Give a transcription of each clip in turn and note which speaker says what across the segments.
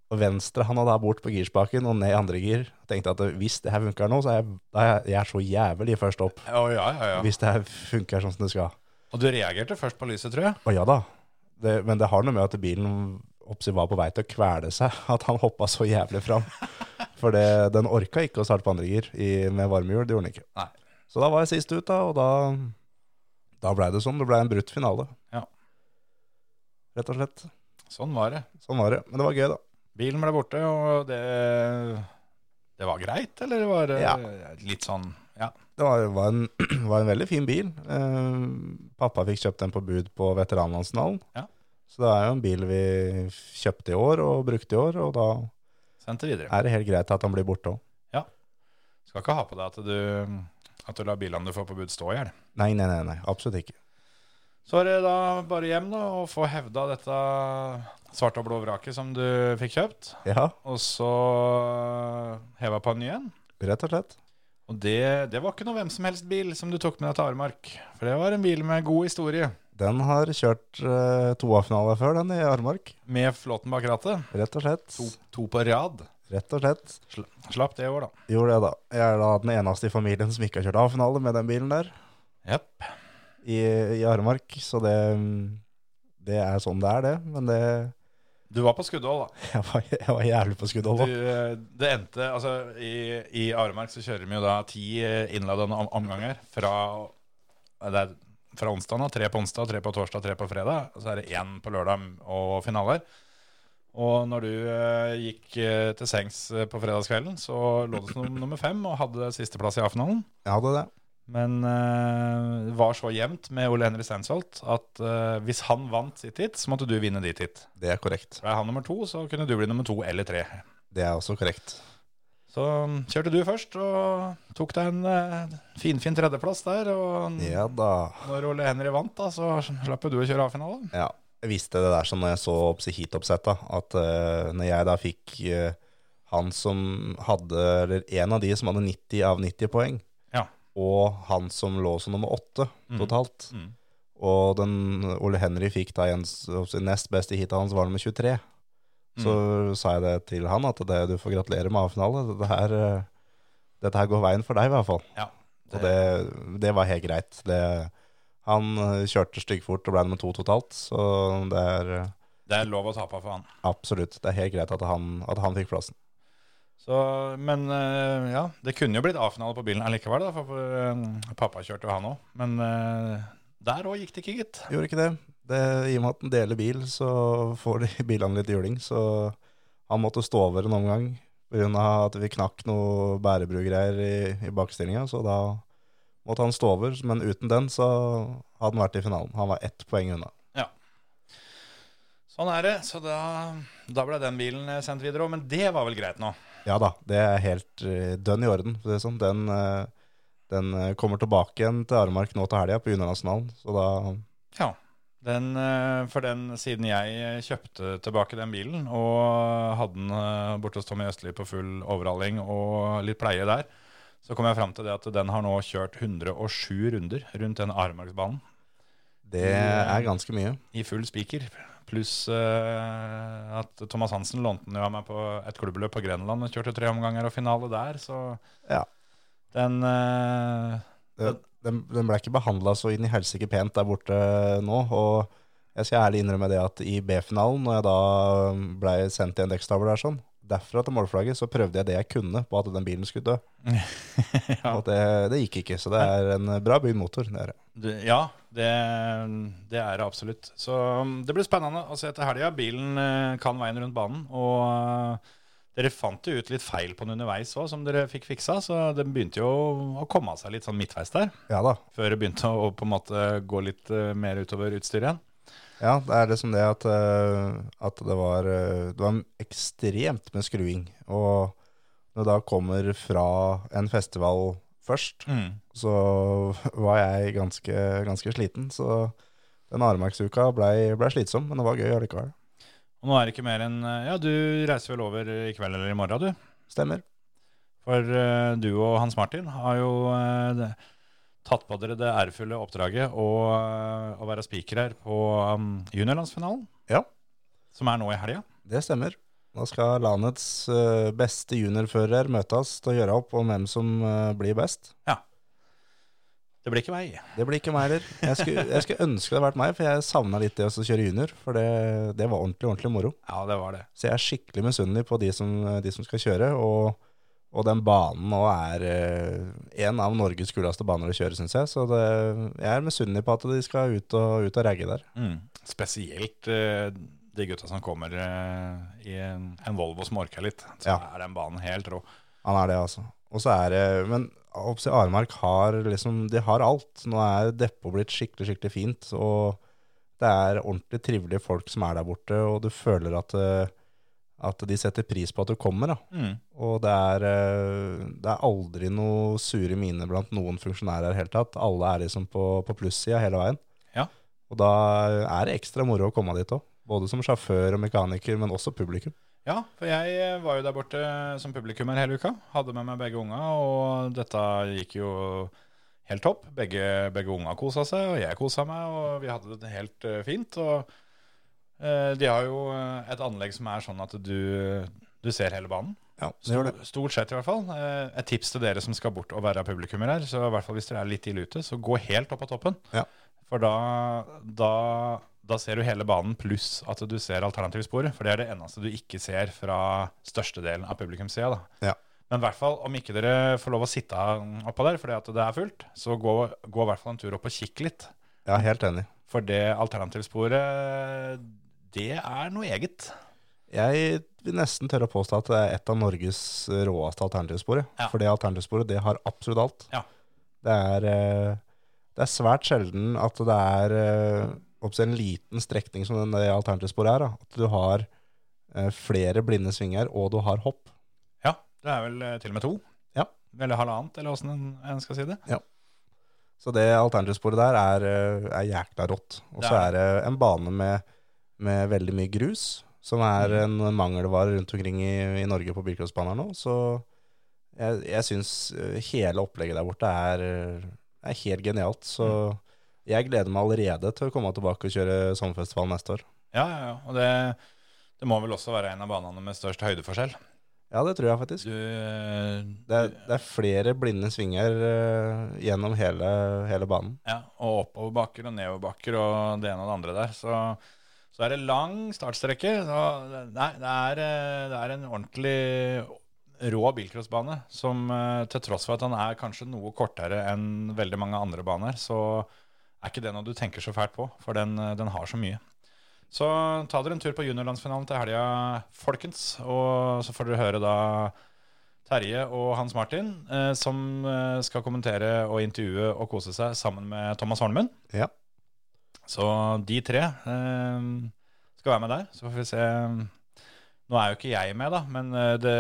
Speaker 1: Og venstre han da bort på girspaken og ned i andre gir. Tenkte at hvis det her funker nå, så er jeg, da er jeg- jeg er så jævlig først opp.
Speaker 2: Å, ja, ja, ja.
Speaker 1: Hvis det her funker sånn som det skal.
Speaker 2: Og du reagerte først på lyset, tror jeg.
Speaker 1: Å ja da. Det, men det har noe med at bilen oppsi var på vei til å kvele seg, at han hoppa så jævlig fram. For det, den orka ikke å starte på andre gir i- med varmehjul, det gjorde den ikke.
Speaker 2: Nei.
Speaker 1: Så da var jeg sist ut, da, og da, da blei det sånn. Det blei en brutt finale.
Speaker 2: Ja.
Speaker 1: Rett og slett.
Speaker 2: Sånn var det.
Speaker 1: Sånn var det. Men det var gøy, da.
Speaker 2: Bilen ble borte, og det, det var greit, eller det var
Speaker 1: Ja.
Speaker 2: litt sånn Ja.
Speaker 1: Det var, var, en, var en veldig fin bil. Eh, pappa fikk kjøpt den på bud på veteranlandsfinalen.
Speaker 2: Ja.
Speaker 1: Så det er jo en bil vi kjøpte i år og brukte i år, og da
Speaker 2: Sendte videre.
Speaker 1: er det helt greit at den blir borte òg.
Speaker 2: Skal ikke ha på deg at du, at du lar bilene du får på bud, stå i hjel.
Speaker 1: Nei, nei, nei, nei, absolutt ikke.
Speaker 2: Så er det da bare hjem da, og få hevda dette svarte og blå vraket som du fikk kjøpt.
Speaker 1: Ja,
Speaker 2: Og så heva på en ny en.
Speaker 1: rett og slett.
Speaker 2: Og det, det var ikke noe hvem som helst bil som du tok med deg til Aremark. For det var en bil med god historie,
Speaker 1: Den har kjørt uh, toa-finale før, den i Armark.
Speaker 2: med flåten bak rattet.
Speaker 1: Rett og slett.
Speaker 2: To, to på rad.
Speaker 1: Rett og slett.
Speaker 2: Slapp det i år, da.
Speaker 1: Gjorde det, da. Jeg er da den eneste i familien som ikke har kjørt A-finale med den bilen der
Speaker 2: Jepp.
Speaker 1: i, i Armark, så det, det er sånn det er, det. Men det
Speaker 2: Du var på skuddhold, da.
Speaker 1: Jeg var, jeg var jævlig på skuddhold,
Speaker 2: Du,
Speaker 1: da.
Speaker 2: eh, det endte Altså, i, i Aremark så kjører vi jo da ti eh, innladende om- omganger fra eh, det er fra onsdag nå. Tre på onsdag, tre på torsdag, tre på fredag. Og så er det én på lørdag og finaler. Og når du eh, gikk eh, til sengs eh, på fredagskvelden, så lå du som nummer fem og hadde sisteplass i A-finalen.
Speaker 1: Jeg hadde det.
Speaker 2: Men eh, det var så jevnt med Ole Henry Stensholt at eh, hvis han vant sitt hit, så måtte du vinne ditt hit.
Speaker 1: Det er korrekt.
Speaker 2: Ble han nummer to, så kunne du bli nummer to eller tre.
Speaker 1: Det er også korrekt.
Speaker 2: Så mm, kjørte du først, og tok deg en eh, finfin tredjeplass der. Og um,
Speaker 1: Ja da.
Speaker 2: når Ole Henry vant, da, så slapp jo du å kjøre A-finale.
Speaker 1: Ja, jeg visste det der som når jeg så opp til heatoppsetta, at eh, når jeg da fikk eh, han som hadde, eller en av de som hadde 90 av 90 poeng,
Speaker 2: Ja.
Speaker 1: og han som lå som nummer 8 totalt,
Speaker 2: Mm.
Speaker 1: og den Ole Henry fikk da en, sin nest beste hit av hans var nummer 23,
Speaker 2: Mm.
Speaker 1: så sa jeg det til han at det, du får gratulere med A-finale, dette her, eh, dette her går veien for deg i hvert fall.
Speaker 2: Ja,
Speaker 1: Og det, det var helt greit. Det, han eh, kjørte styggfort og ble nummer to totalt, så det er eh,
Speaker 2: det er lov å tape for han.
Speaker 1: absolutt Det er helt greit at han, at han fikk plassen.
Speaker 2: Så, men eh, ja, det kunne jo blitt A-finale på bilen allikevel, da, for eh, pappa kjørte jo han òg. Men eh, der òg gikk det ikke, gitt.
Speaker 1: Gjorde ikke det. det. I og med at han deler bil, så får de bilene litt juling. Så han måtte stå over en omgang pga. at vi knakk noe bærebrugreier i, i bakstillinga. Så da måtte han stå over, men uten den så hadde han vært i finalen. Han var ett poeng unna.
Speaker 2: Sånn er det. Så da, da ble den bilen eh, sendt videre òg. Men det var vel greit nå?
Speaker 1: Ja da, det er helt eh, dønn i orden. For å si det sånn. den, eh, den eh, kommer tilbake igjen til Aremark nå til helga på juniorlandsfinalen. Så da
Speaker 2: Ja. Den, eh, for den, siden jeg eh, kjøpte tilbake den bilen og hadde den eh, borte hos Tommy Østli på full overhaling og litt pleie der, så kom jeg fram til det at den har nå kjørt 107 runder rundt den Aremarksbanen
Speaker 1: det er ganske mye.
Speaker 2: i full spiker. Pluss eh, at Thomas Hansen lånte den jo av meg på et klubbløp på Grenland og kjørte tre omganger og finale der, så
Speaker 1: Ja.
Speaker 2: den eh,
Speaker 1: Det, den, den ble ikke behandla så inn i helsike pent der borte nå. Og jeg skal ærlig innrømme det at i B-finalen, når jeg da blei sendt i en dekkstabel der sånn, derfra til målflagget, så prøvde jeg det jeg kunne på at den bilen skulle dø.
Speaker 2: Ja.
Speaker 1: Og det, det gikk ikke. Så det er en eh, bra bygd motor. Det er det.
Speaker 2: Det, ja, det, det er det absolutt. Så um, det blir spennende å se til helga. Bilen eh, kan veien rundt banen. Og eh, dere fant jo ut litt feil på den underveis òg, som dere fikk fiksa. Så den begynte jo å komme av seg litt sånn midtveis der,
Speaker 1: Ja da.
Speaker 2: før det begynte å på en måte gå litt eh, mer utover utstyret igjen.
Speaker 1: Ja, det er liksom det at, eh, at det, var, eh, det var ekstremt med skruing. Og når da kommer fra en festival først,
Speaker 2: Mm.
Speaker 1: så var jeg ganske, ganske sliten. Så den Aremarksuka blei ble slitsom, men det var gøy allikevel.
Speaker 2: Og nå er det ikke mer enn eh, Ja, du reiser vel over i kveld eller i morgen, du?
Speaker 1: Stemmer.
Speaker 2: For eh, du og Hans Martin har jo eh, det, tatt på dere det ærefulle oppdraget å, eh, å være spiker her på um, juniorlandsfinalen,
Speaker 1: Ja,
Speaker 2: som er nå i helga.
Speaker 1: det stemmer. Da skal landets eh, beste juniorfører møtes til å gjøre opp om hvem som eh, blir best.
Speaker 2: Det blir ikke meg.
Speaker 1: Det blir ikke meg heller. Jeg skulle, jeg skulle ønske det hadde vært meg, for jeg savna litt det å kjøre junior. For det, det var ordentlig, ordentlig moro.
Speaker 2: Ja, det var det.
Speaker 1: Så jeg er skikkelig misunnelig på de som, de som skal kjøre. Og, og den banen nå er eh, en av Norges kuleste baner å kjøre, syns jeg. Så det, jeg er misunnelig på at de skal ut og, ut og ragge der.
Speaker 2: Mm. Spesielt eh, de gutta som kommer eh, i en, en Volvo som orker litt. Så
Speaker 1: Ja.
Speaker 2: er den banen helt rå.
Speaker 1: Han er det, altså. Og så er det Men oppsi Aremark har liksom De har alt. Nå er depotet blitt skikkelig, skikkelig fint. Og det er ordentlig trivelige folk som er der borte, og du føler at eh, at de setter pris på at du kommer, da.
Speaker 2: Mm.
Speaker 1: Og det er, eh, det er aldri noe sure mine blant noen funksjonærer i det hele tatt. Alle er liksom på, på plussida hele veien.
Speaker 2: Ja.
Speaker 1: Og da er det ekstra moro å komme dit òg. Både som sjåfør og mekaniker, men også publikum.
Speaker 2: Ja, for jeg eh, var jo der borte som publikummer hele uka. Hadde med meg begge unga, og dette gikk jo helt topp. Begge, begge unga kosa seg, og jeg kosa meg, og vi hadde det helt eh, fint. Og eh, de har jo eh, et anlegg som er sånn at du, du ser hele banen.
Speaker 1: Ja,
Speaker 2: Stort sett, i hvert fall. Eh, Et tips til dere som skal bort og være publikummer her, så i hvert fall hvis dere er litt ille ute, så gå helt opp på toppen.
Speaker 1: Ja.
Speaker 2: For da, da, da ser du hele banen, pluss at du ser alternativsporet. For det er det eneste du ikke ser fra størstedelen av publikumssida. da.
Speaker 1: Ja.
Speaker 2: Men i hvert fall, om ikke dere får lov å sitte oppå der fordi at det er fullt, så gå, gå i hvert fall en tur opp og kikk litt.
Speaker 1: Ja, helt enig.
Speaker 2: For det alternativsporet, det er noe eget.
Speaker 1: Jeg vil nesten tørre å påstå at det er et av Norges råeste alternativspor.
Speaker 2: Ja.
Speaker 1: For det alternativsporet, det har absolutt alt.
Speaker 2: Ja.
Speaker 1: Det er, eh, det er svært sjelden at det er eh, oppsett en liten strekning som den- det alternativsporet er. Da. At du har eh, flere blinde svinger, og du har hopp.
Speaker 2: Ja, det er vel eh, til og med to.
Speaker 1: Ja.
Speaker 2: Eller halvannet, eller åssen en- en skal si det.
Speaker 1: Så det alternativsporet der er, eh, er jækla rått. Og så
Speaker 2: Det er
Speaker 1: er det en bane med, med veldig mye grus, som er en mangelvare rundt omkring i, i Norge på bilcrossbaner nå. Så jeg, jeg syns eh, hele opplegget der borte er, eh, er helt genialt. Så jeg gleder meg allerede til å komme tilbake og kjøre sommerfestival neste år.
Speaker 2: Ja, ja, ja. Og det, det må vel også være en av banene med størst høydeforskjell.
Speaker 1: Ja, det tror jeg faktisk.
Speaker 2: Du, eh,
Speaker 1: Det er, det er flere blinde svinger eh, gjennom hele, hele banen.
Speaker 2: ja, og oppoverbakker og nedoverbakker og det ene og det andre der. Så, så er det lang startstrekke. Så nei, det er, eh, det er en ordentlig rå bilcrossbane som eh, til tross for at den er kanskje noe kortere enn veldig mange andre baner, så er ikke det noe du tenker så fælt på, for den, eh, den har så mye. Så ta dere en tur på juniorlandsfinalen til helga, folkens, og så får dere høre da Terje og Hans Martin, eh, som eh, skal kommentere og intervjue og kose seg sammen med Thomas Holmen.
Speaker 1: Ja.
Speaker 2: Så de tre eh, skal være med der. Så får vi se. Nå er jo ikke jeg med, da, men eh, det,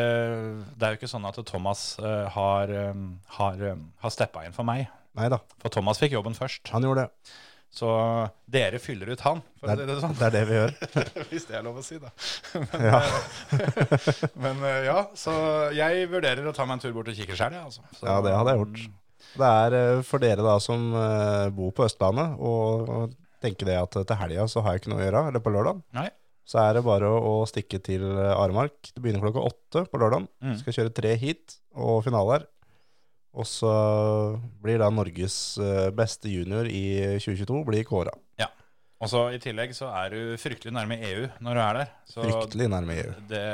Speaker 2: det er jo ikke sånn at Thomas eh, har, eh, har, eh, har steppa inn for meg.
Speaker 1: Nei da,
Speaker 2: For Thomas fikk jobben først.
Speaker 1: han gjorde det.
Speaker 2: Så dere fyller ut han, for
Speaker 1: Det
Speaker 2: å
Speaker 1: er
Speaker 2: si det sånn.
Speaker 1: det, er det vi gjør.
Speaker 2: Hvis det er lov å si, da.
Speaker 1: Ja.
Speaker 2: Men eh, ja, så jeg vurderer å ta meg en tur bort og kikke sjøl, jeg, altså. Så-
Speaker 1: Ja, det hadde jeg gjort. Det er eh, for dere da som eh, bor på Østlandet og, og tenker det at til helga så har jeg ikke noe å gjøre, eller på lørdag,
Speaker 2: Nei.
Speaker 1: så er det bare å, å stikke til eh, Aremark. Det begynner klokka åtte på lørdag.
Speaker 2: Mm.
Speaker 1: Skal kjøre tre hit og finaler. Og så blir da Norges eh, beste junior i 2022 blir kåra.
Speaker 2: Og så I tillegg så er du fryktelig nærme EU når du er der. Så
Speaker 1: Fryktelig nærme EU.
Speaker 2: det,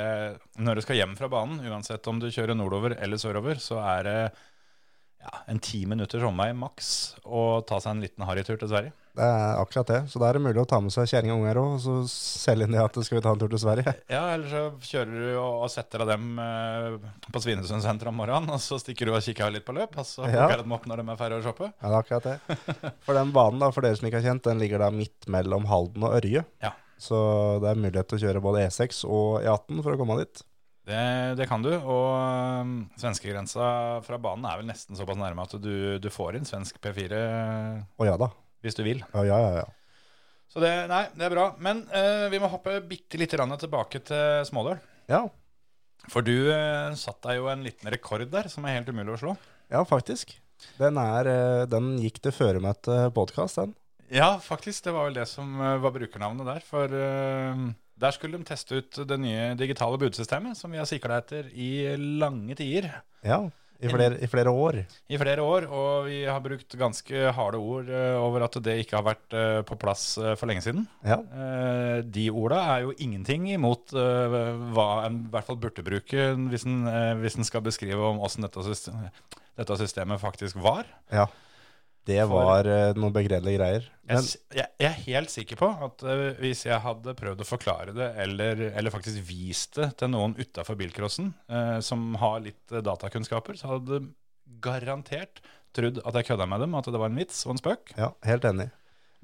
Speaker 2: når du skal hjem fra banen, uansett om du kjører nordover eller sørover, så er det ja, en ti minutters omvei maks å ta seg en liten harrytur til Sverige.
Speaker 1: Det er akkurat det. Så da er det mulig å ta med seg kjerring og unger òg, og så selge inn det at skal vi ta en tur til Sverige.
Speaker 2: Ja, eller så kjører du og, og setter av dem eh, på Svinesund senter om morgenen, og så stikker du og kikker litt på løp, og så
Speaker 1: Ja.
Speaker 2: plukker du dem opp når de er ferdig å shoppe.
Speaker 1: Ja, det er akkurat det. For den banen, da, for dere som ikke har kjent, den ligger da midt mellom Halden og Ørje.
Speaker 2: Ja.
Speaker 1: Så det er mulighet til å kjøre både E6 og E18 for å komme dit.
Speaker 2: Det, det kan du, og um, svenskegrensa fra banen er vel nesten såpass nærme at du, du får inn svensk P4
Speaker 1: Å ja da.
Speaker 2: hvis du vil.
Speaker 1: Ja, ja, ja. ja.
Speaker 2: Så det, nei, det er bra. Men eh, vi må hoppe bitte lite grann tilbake til Smådøl.
Speaker 1: Ja,
Speaker 2: For du eh, satt deg jo en liten rekord der som er helt umulig å slå.
Speaker 1: ja faktisk. Den, er, eh, den gikk til føremøte podkast, den.
Speaker 2: Ja, faktisk. Det var vel det som eh, var brukernavnet der. For eh, der skulle de teste ut det nye digitale budsystemet som vi har sikla etter i lange tider.
Speaker 1: Ja, i flere, i flere år.
Speaker 2: I flere år, og vi har brukt ganske harde ord eh, over at det ikke har vært eh, på plass eh, for lenge siden.
Speaker 1: Ja,
Speaker 2: Eh, de orda er jo ingenting imot eh, hva en i hvert fall burde bruke hvis en, eh, hvis en skal beskrive om åssen dette, system, dette systemet faktisk var.
Speaker 1: ja. Det var eh, noen begredelige greier.
Speaker 2: Jeg,
Speaker 1: Men,
Speaker 2: s- jeg, jeg er helt sikker på at eh, hvis jeg hadde prøvd å forklare det, eller, eller faktisk vist det til noen utafor bilcrossen eh, som har litt eh, datakunnskaper, så hadde de garantert trodd at jeg kødda med dem, at det var en vits og en spøk.
Speaker 1: ja, helt enig.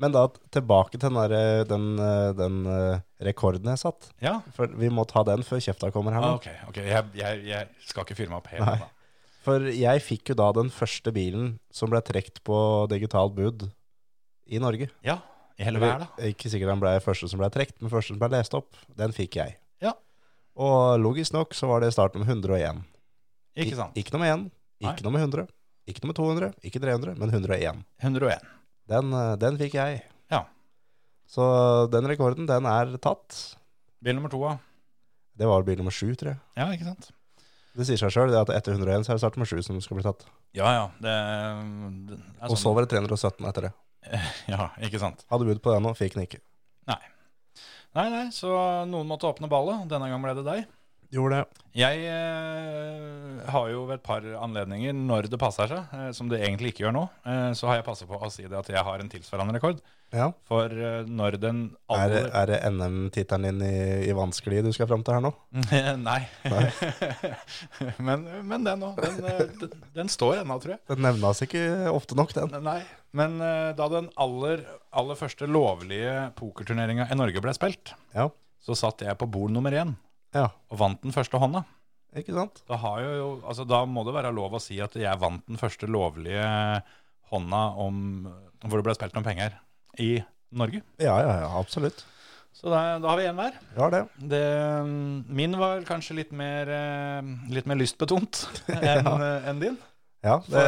Speaker 1: Men da tilbake til den, der, eh, den, eh, den eh, rekorden jeg satt.
Speaker 2: Ja,
Speaker 1: For vi må ta den før kjefta kommer her.
Speaker 2: ah,
Speaker 1: nå.
Speaker 2: ok. ok. Jeg, jeg, jeg skal ikke fyre meg opp helt.
Speaker 1: Nei.
Speaker 2: da.
Speaker 1: For jeg fikk jo da den første bilen som ble trekt på digitalt bud i Norge.
Speaker 2: Ja, i hele verden.
Speaker 1: Ikke sikkert den ble første som ble trekt, men første som ble lest opp, den fikk jeg.
Speaker 2: Ja.
Speaker 1: Og logisk nok så var det start nummer 101.
Speaker 2: Ikke sant?
Speaker 1: Ik ikke nummer 1,
Speaker 2: Nei.
Speaker 1: ikke nummer 100, ikke nummer 200, ikke 300, men 101.
Speaker 2: 101.
Speaker 1: Den, eh, den fikk jeg.
Speaker 2: Ja.
Speaker 1: Så den rekorden, den er tatt.
Speaker 2: Bil nummer to, ja.
Speaker 1: Det var bil nummer 7, tror jeg.
Speaker 2: Ja, ikke sant?
Speaker 1: Det sier seg selv det at etter 101 så er det start nummer 7 som skal bli tatt.
Speaker 2: Ja, ja. Det, det er sånn.
Speaker 1: Og så var det 317 etter det.
Speaker 2: Ja, ikke sant?
Speaker 1: Hadde bud på den og fikk den ikke.
Speaker 2: Nei, nei, så noen måtte åpne ballet. Denne gang ble det deg.
Speaker 1: Gjorde det.
Speaker 2: Jeg eh, har jo ved et par anledninger, når det passer seg, eh, som det egentlig ikke gjør nå, eh, så har jeg passet på å si det at jeg har en tilsvarende rekord.
Speaker 1: Ja.
Speaker 2: For eh, når den
Speaker 1: Er,
Speaker 2: aller
Speaker 1: det- er det NM-tittelen din i, i vanskelig du skal fram til her nå?
Speaker 2: Nei. men, men den òg. Den, eh, den, den står ennå, tror jeg.
Speaker 1: Den nevnes ikke ofte nok, den.
Speaker 2: Nei. Men eh, da den aller, aller første lovlige pokerturneringa i Norge ble spilt,
Speaker 1: Ja.
Speaker 2: så satt jeg på bord nummer én
Speaker 1: Ja,
Speaker 2: og vant den første hånda.
Speaker 1: ikke sant?
Speaker 2: Da, har jo, altså, da må det være lov å si at jeg vant den første lovlige hånda om, hvor det ble spilt noen penger i Norge.
Speaker 1: Ja, ja, ja, absolutt.
Speaker 2: Så da, da har vi én hver.
Speaker 1: Ja, det.
Speaker 2: Det, mm, min var kanskje litt mer, eh, litt mer lystbetont enn eh, enn din.
Speaker 1: Ja,
Speaker 2: For, eh,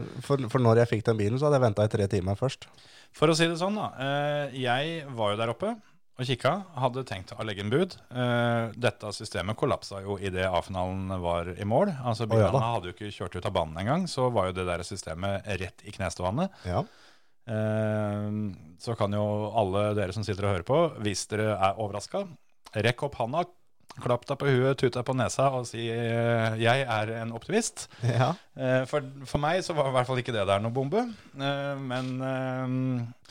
Speaker 1: det for, for når jeg fikk den bilen, så hadde jeg venta i tre timer først.
Speaker 2: For å si det sånn, da. eh, Jeg var jo der oppe og kikka. Hadde tenkt å legge en bud. Eh, Dette systemet kollapsa jo idet A-finalen var i mål. Altså
Speaker 1: Å, ja
Speaker 2: Bilene
Speaker 1: da.
Speaker 2: hadde jo ikke kjørt ut av banen engang, så var jo det der systemet rett i knestående.
Speaker 1: Ja.
Speaker 2: Eh, Så kan jo alle dere som sitter og hører på, hvis dere er overraska, rekk opp handa. Klapp deg på huet, tut deg på nesa og si eh, 'jeg er en optimist'.
Speaker 1: ja.
Speaker 2: Eh, For, for meg så var i hvert fall ikke det der noe bombe. Eh, Men eh,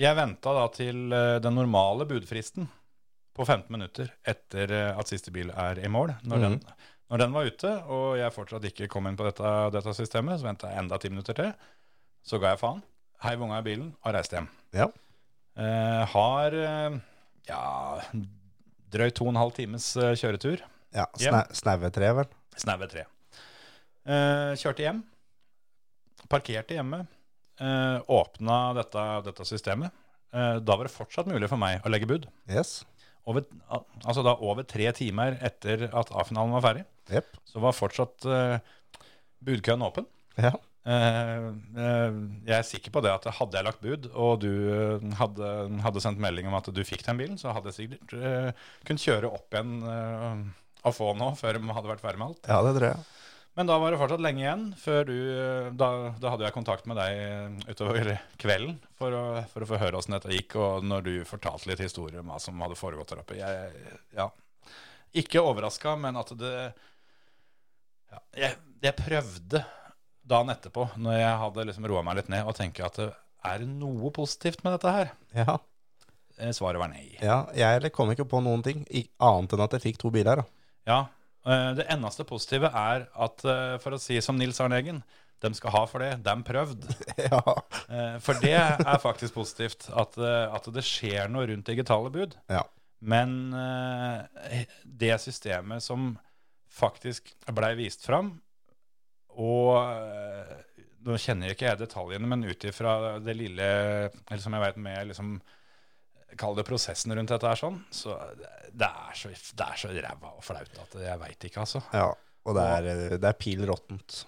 Speaker 2: jeg venta da til eh, den normale budfristen på 15 minutter etter eh, at siste bil er i mål. Når, den, når den var ute, og jeg fortsatt ikke kom inn på dette, dette systemet, så venta jeg enda 10 minutter til. Så ga jeg faen, heiv unga i bilen og reiste hjem.
Speaker 1: Ja.
Speaker 2: Eh, har eh, ja, drøyt to og en halv times eh, kjøretur.
Speaker 1: ja sna, Snaue tre, vel.
Speaker 2: Snaue tre. Eh, kjørte hjem. Parkerte hjemme. Eh, åpna dette, dette systemet. Eh, da var det fortsatt mulig for meg å legge bud.
Speaker 1: Yes.
Speaker 2: Over, al- altså da over tre timer etter at A-finalen var ferdig,
Speaker 1: Jepp.
Speaker 2: så var fortsatt eh, budkøen åpen.
Speaker 1: Ja.
Speaker 2: Eh, eh, jeg er sikker på det at hadde jeg lagt bud, og du eh, hadde, hadde sendt melding om at du fikk den bilen, så hadde jeg sikkert eh, kunnet kjøre opp igjen eh, og få den nå, før de hadde vært ferdig med alt.
Speaker 1: ja, det tror jeg.
Speaker 2: Men da var det fortsatt lenge igjen før du eh, Da, da hadde jeg kontakt med deg eh, utover kvelden for å, for å få høre åssen dette gikk, og når du fortalte litt historie om hva som hadde foregått der oppe. Jeg, ja. Ikke overraska, men at det ja, jeg, jeg prøvde dagen etterpå, når jeg hadde liksom roa meg litt ned, å tenke at eh, er det noe positivt med dette her?
Speaker 1: Ja.
Speaker 2: Eh, Svaret var nei.
Speaker 1: ja. Jeg kom ikke på noen ting i, annet enn at jeg fikk to biler. da.
Speaker 2: Ja, eh, det eneste positive er at, eh, for å si som Nils Arne Eggen, de skal ha for det, de prøvd.
Speaker 1: Ja.
Speaker 2: Eh, For det er faktisk positivt at, eh, at det skjer noe rundt digitale bud.
Speaker 1: ja.
Speaker 2: Men eh, det systemet som faktisk blei vist fram, og eh, nå kjenner jeg ikke jeg detaljene, men ut ifra det lille eller som jeg vet med liksom, Kall det prosessen rundt dette her sånn. Så det er så, det er så ræva og flaut at jeg veit ikke, altså.
Speaker 1: Ja, og det er, eh, det er pil råttent.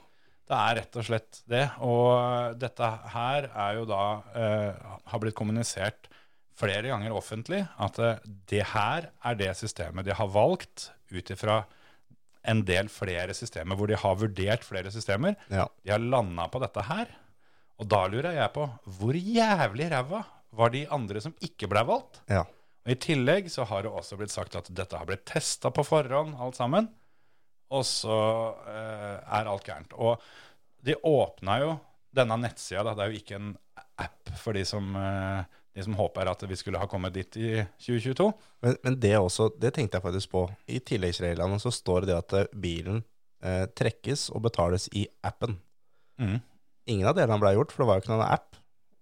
Speaker 2: Det er rett og slett det. Og eh, dette her er jo da eh, har blitt kommunisert flere ganger offentlig at eh, det her er det systemet de har valgt ut ifra en del flere systemer, hvor de har vurdert flere systemer.
Speaker 1: Ja.
Speaker 2: De har landa på dette her. Og da lurer jeg på hvor jævlig ræva var de andre som ikke ble valgt?
Speaker 1: ja.
Speaker 2: Og I tillegg så har det også blitt sagt at dette har blitt testa på forhånd, alt sammen. Og så eh, er alt gærent. Og de åpna jo denne nettsida, da. Det er jo ikke en app for de som, eh, de som håper at vi skulle ha kommet dit i 2022.
Speaker 1: Men, men det også, det tenkte jeg faktisk på. I tilleggsreglene så står det at eh, bilen eh, trekkes og betales i appen.
Speaker 2: Mhm.
Speaker 1: Ingen av delene ble gjort, for det var jo ikke noen app.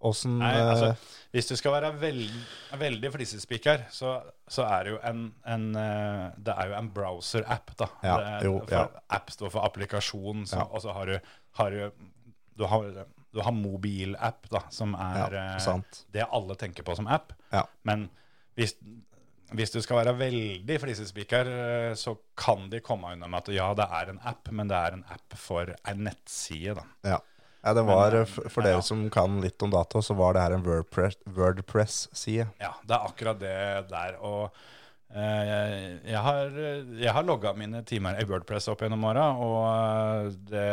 Speaker 1: Åssen eh,
Speaker 2: Nei, altså, hvis du skal være veld, veldig flisespiker, så, så er det jo en, en eh, Det er jo en browser-app, da.
Speaker 1: Ja,
Speaker 2: det, er-
Speaker 1: jo,
Speaker 2: for,
Speaker 1: ja.
Speaker 2: App står for applikasjon, så,
Speaker 1: Ja.
Speaker 2: og så har du, har du, du har, du har mobilapp, da, som er
Speaker 1: Ja,
Speaker 2: eh,
Speaker 1: sant.
Speaker 2: det alle tenker på som app.
Speaker 1: Ja.
Speaker 2: Men hvis, hvis du skal være veldig flisespiker, eh, så kan de komme unna med at ja, det er en app, men det er en app for en nettside, da.
Speaker 1: ja. ja, det var
Speaker 2: Men,
Speaker 1: eh, For, for
Speaker 2: ja.
Speaker 1: dere som kan litt om data, så var det her en Wordpress- Wordpress-side.
Speaker 2: Ja, det er akkurat det der. Og eh, jeg, jeg har, jeg har logga mine timer i Wordpress opp gjennom åra, og eh, det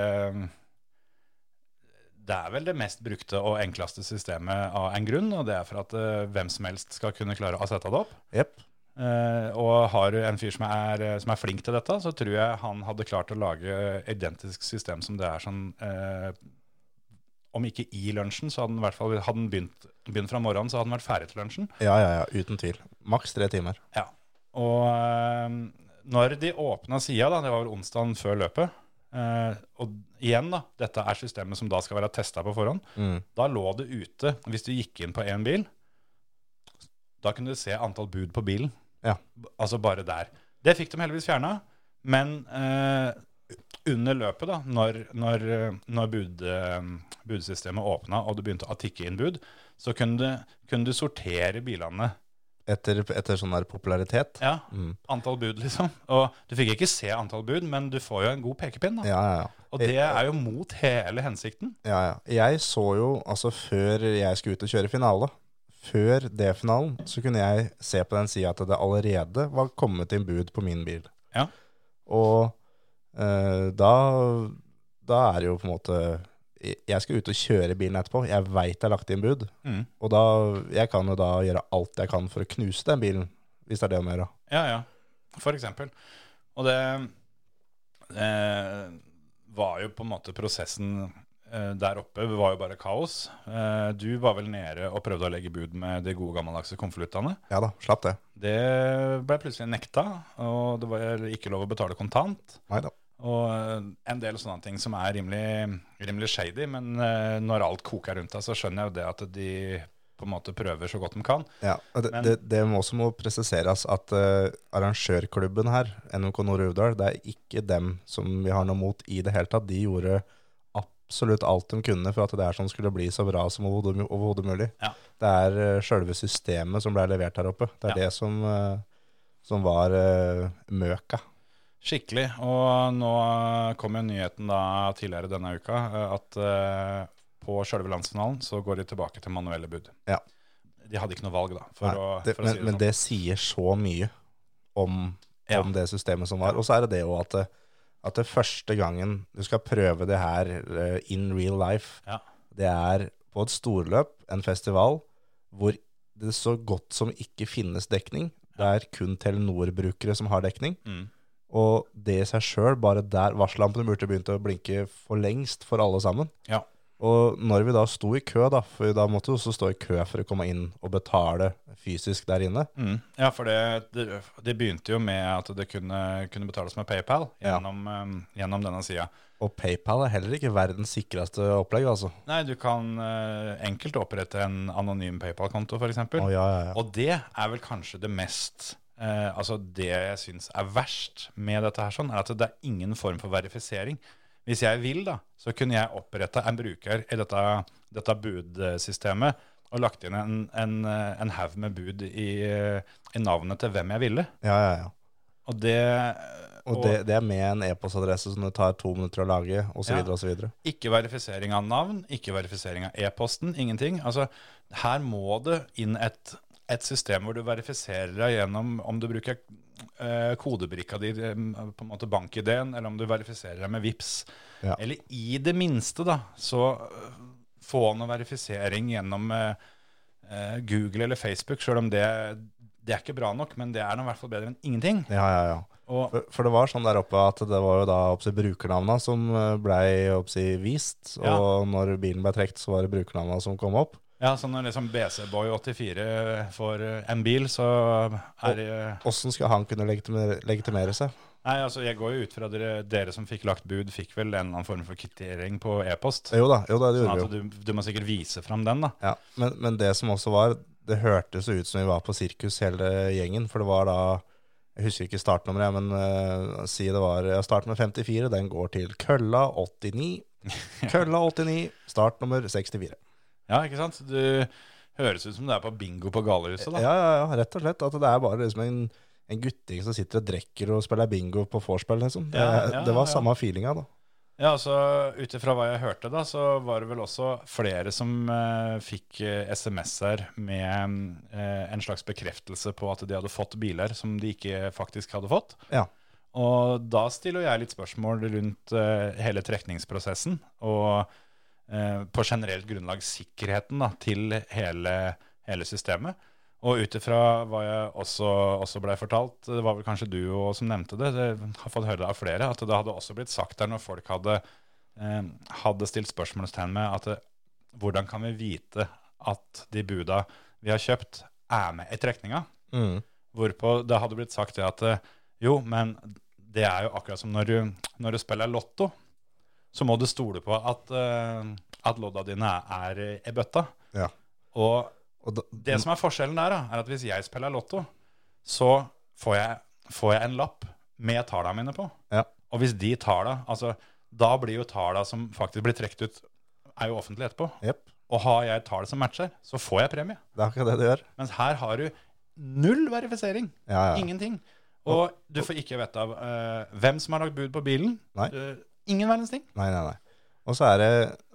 Speaker 2: det er vel det mest brukte og enkleste systemet av en grunn, og det er for at eh, hvem som helst skal kunne klare å sette det opp.
Speaker 1: Jepp.
Speaker 2: Eh, og har du en fyr som er, som er flink til dette, så tror jeg han hadde klart å lage identisk system som det er sånn eh, Om ikke i lunsjen, så hadde han i hvert fall hadde han begynt, begynt fra morgenen, så hadde han vært ferdig til lunsjen.
Speaker 1: Ja, ja, ja, uten tvil. Maks tre timer.
Speaker 2: Ja. Og ehm, når de åpna sida, da, det var vel onsdagen før løpet eh, Og igjen, da, dette er systemet som da skal være testa på forhånd.
Speaker 1: Mm.
Speaker 2: Da lå det ute, hvis du gikk inn på én bil, da kunne du se antall bud på bilen.
Speaker 1: Ja.
Speaker 2: B- Altså bare der. Det fikk de heldigvis fjerna, men eh, under løpet, da, når, når, eh, når bud, eh, budsystemet åpna og du begynte å tikke inn bud, så kunne du, kunne du sortere bilene
Speaker 1: Etter, etter sånn der popularitet.
Speaker 2: ja,
Speaker 1: Mm.
Speaker 2: antall bud, liksom. Og du fikk ikke se antall bud, men du får jo en god pekepinn. da.
Speaker 1: Ja, ja, ja.
Speaker 2: Og det er jo mot hele hensikten.
Speaker 1: Ja, ja. Jeg så jo, altså før jeg skulle ut og kjøre finale, før D-finalen, så kunne jeg se på den sida at det allerede var kommet inn bud på min bil.
Speaker 2: Ja.
Speaker 1: Og eh, da, da er det jo på en måte Jeg skal ut og kjøre bilen etterpå. Jeg veit det er lagt inn bud.
Speaker 2: Mm.
Speaker 1: Og da, jeg kan jo da gjøre alt jeg kan for å knuse den bilen, hvis det er det om å gjøre.
Speaker 2: Ja, ja. For eksempel. Og det eh, var jo på en måte prosessen eh, der oppe var jo bare kaos. Eh, du var vel nede og prøvde å legge bud med de gode gammeldagse konvoluttene.
Speaker 1: Ja da, slapp det.
Speaker 2: Det ble plutselig nekta, og det var ikke lov å betale kontant.
Speaker 1: Nei da.
Speaker 2: Og eh, en del sånne ting som er rimelig, rimelig shady, men eh, når alt koker rundt deg, så skjønner jeg jo det at de på en måte prøver så godt de kan.
Speaker 1: Ja, og det,
Speaker 2: Men-
Speaker 1: det, det må også må presiseres at eh, arrangørklubben her, NMK Nord-Uvdal, det er ikke dem som vi har noe mot i det hele tatt. De gjorde absolutt alt de kunne for at det her som skulle bli så bra som overhodet mu- overhodet mulig.
Speaker 2: Ja.
Speaker 1: Det er uh, sjølve systemet som ble levert her oppe. Det
Speaker 2: Ja.
Speaker 1: er det som, eh, som var eh, møka.
Speaker 2: Skikkelig. Og nå kom jo nyheten da tidligere denne uka eh, at eh, på sjølve landsfinalen så går de tilbake til manuelle bud.
Speaker 1: Ja.
Speaker 2: De hadde ikke noe valg, da, for,
Speaker 1: Nei,
Speaker 2: å,
Speaker 1: det,
Speaker 2: for å
Speaker 1: men,
Speaker 2: si det
Speaker 1: men
Speaker 2: sånn.
Speaker 1: det sier så mye om,
Speaker 2: Ja.
Speaker 1: om det systemet som var. Og så er det det jo at, det- at det første gangen du skal prøve det her eh, in real life,
Speaker 2: Ja.
Speaker 1: det er på et storløp, en festival, hvor det så godt som ikke finnes dekning. Det er kun Telenor-brukere som har dekning.
Speaker 2: Mm.
Speaker 1: Og det i seg sjøl, bare der varsellampene burde begynt å blinke for lengst for alle sammen.
Speaker 2: Ja.
Speaker 1: Og når vi da sto i kø, da, for da måtte vi også stå i kø for å komme inn og betale fysisk der inne.
Speaker 2: Mm. Ja, for det, det, det begynte jo med at det kunne, kunne betales med PayPal
Speaker 1: Ja.
Speaker 2: gjennom, eh, gjennom denne sida.
Speaker 1: Og PayPal er heller ikke verdens sikreste opplegg, altså.
Speaker 2: Nei, du kan eh, enkelt opprette en anonym PayPal-konto, f.eks.
Speaker 1: Å,
Speaker 2: eksempel
Speaker 1: ja, ja, ja.
Speaker 2: Og det er vel kanskje det mest eh, Altså det jeg syns er verst med dette her, sånn, er at det er ingen form for verifisering. Hvis jeg vil, da, så kunne jeg oppretta en bruker i dette, dette budsystemet og lagt inn en, en, eh, en haug med bud i, eh, i navnet til hvem jeg ville.
Speaker 1: Ja, ja, ja.
Speaker 2: Og det
Speaker 1: Og det, det er med en e-postadresse som det tar to minutter å lage, osv.
Speaker 2: Ja.
Speaker 1: videre og så videre.
Speaker 2: Ikke verifisering av navn, ikke verifisering av e-posten, ingenting. Altså, her må det inn et, et system hvor du verifiserer deg gjennom om du bruker eh, kodebrikka di, eh, på en måte bankideen, eller om du verifiserer deg med VIPS.
Speaker 1: Ja.
Speaker 2: Eller i det minste, da, så eh, få noe verifisering gjennom eh, eh, Google eller Facebook, sjøl om det, det er ikke bra nok, men det er nå i hvert fall bedre enn ingenting.
Speaker 1: Ja, ja, ja.
Speaker 2: Og
Speaker 1: For, for det var sånn der oppe at det var jo da oppsi, brukernavna som eh, blei oppsi, vist,
Speaker 2: Ja.
Speaker 1: og når bilen ble trukket, så var det brukernavna som kom opp.
Speaker 2: Ja, så når liksom BC-boy84 får eh, en bil, så er det eh,
Speaker 1: Åssen skal han kunne legitimere, legitimere seg?
Speaker 2: Nei, altså jeg går jo ut fra dere, dere som fikk lagt bud, fikk vel en eller annen form for kvittering på e-post.
Speaker 1: Jo da, jo da, det
Speaker 2: Sånn
Speaker 1: gjorde vi
Speaker 2: at
Speaker 1: jo.
Speaker 2: du, du må sikkert vise fram den, da.
Speaker 1: Ja. Men, men det som også var, det hørtes jo ut som vi var på sirkus hele gjengen, for det var da jeg husker ikke startnummeret, men eh, si det var ja, Start med 54, den går til kølla 89. Kølla 89, startnummer 64.
Speaker 2: Ja, ikke sant? Du høres ut som du er på bingo på galehuset, da.
Speaker 1: Ja, ja, ja, rett og slett. At det er bare liksom en, en gutting som sitter og drikker og spiller bingo på vorspiel, liksom. Det,
Speaker 2: Ja, ja,
Speaker 1: det var
Speaker 2: ja.
Speaker 1: samme feelinga, da.
Speaker 2: Ja, altså ut ifra hva jeg hørte, da, så var det vel også flere som eh, fikk eh, SMS-er med eh, en slags bekreftelse på at de hadde fått biler som de ikke faktisk hadde fått.
Speaker 1: Ja.
Speaker 2: Og da stiller jeg litt spørsmål rundt eh, hele trekningsprosessen og eh, på generelt grunnlag sikkerheten da, til hele, hele systemet. Og ut ifra hva jeg også, også blei fortalt, det var vel kanskje du også som nevnte det, det har fått høre det av flere, at det hadde også blitt sagt der når folk hadde, eh, hadde stilt spørsmålstegn med at eh, hvordan kan vi vite at de buda vi har kjøpt, er med i trekninga?
Speaker 1: Mm.
Speaker 2: Hvorpå det hadde blitt sagt det at eh, jo, men det er jo akkurat som når du, når du spiller lotto, så må du stole på at, eh, at lodda dine er er i bøtta.
Speaker 1: Ja. Mm.
Speaker 2: Og
Speaker 1: Og da,
Speaker 2: det som er forskjellen der, da, er at hvis jeg spiller lotto, så får jeg, får jeg en lapp med tallene mine på.
Speaker 1: Ja.
Speaker 2: Og hvis de tallene, altså, da blir jo tallene som faktisk blir trukket ut, er jo offentlig etterpå.
Speaker 1: Jepp.
Speaker 2: Og har jeg tall som matcher, så får jeg premie.
Speaker 1: Det er akkurat det det gjør.
Speaker 2: Mens her har du null verifisering.
Speaker 1: Ja, ja.
Speaker 2: Ingenting. Og du får ikke vite av eh, hvem som har lagt bud på bilen.
Speaker 1: Nei.
Speaker 2: Eh, ingen verdens ting.
Speaker 1: Nei, nei, nei. Og så er det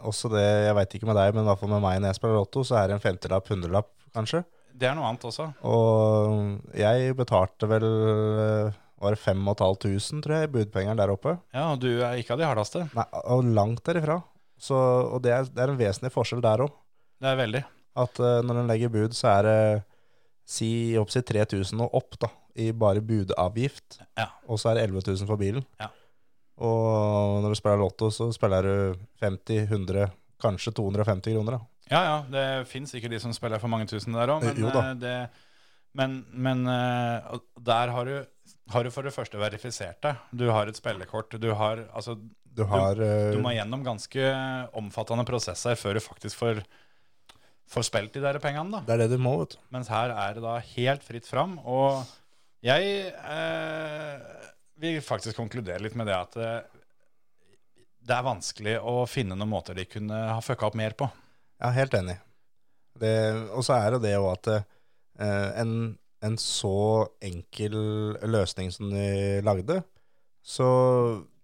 Speaker 1: også det, jeg veit ikke med deg, men i hvert fall med meg når jeg spiller lotto, så er det en femtelapp, hundrelapp, kanskje.
Speaker 2: Det er noe annet også.
Speaker 1: Og jeg betalte vel eh, var det 5500, tror jeg, i budpengeren der oppe.
Speaker 2: Ja, og du er ikke av de hardeste.
Speaker 1: Nei, og langt derifra. Så, og det er, det er en vesentlig forskjell der òg.
Speaker 2: Det er veldig.
Speaker 1: At eh, når en legger bud, så er det si opptil 3000 og opp, da, i bare budavgift.
Speaker 2: Ja.
Speaker 1: Og så er det 11 000 for bilen.
Speaker 2: Ja.
Speaker 1: Og når du spiller lotto, så spiller du 50, 100, kanskje 250 kroner, da.
Speaker 2: Ja, ja, det fins sikkert de som spiller for mange tusen der òg, men,
Speaker 1: Jo da.
Speaker 2: eh, det- men, men eh, og der har du, har du for det første verifisert deg. Du har et spillekort. Du, har, altså,
Speaker 1: Du har eh,
Speaker 2: du må gjennom ganske omfattende prosesser før du faktisk får, får spilt de der pengene. da.
Speaker 1: Det er det du må, vet du.
Speaker 2: Mens her er det da helt fritt fram. Og jeg eh, vil faktisk konkludere litt med det at eh, det er vanskelig å finne noen måter de kunne ha fucka opp mer på.
Speaker 1: Ja, helt enig. Det, og så er det det òg at eh, en, en så enkel løsning som de lagde, så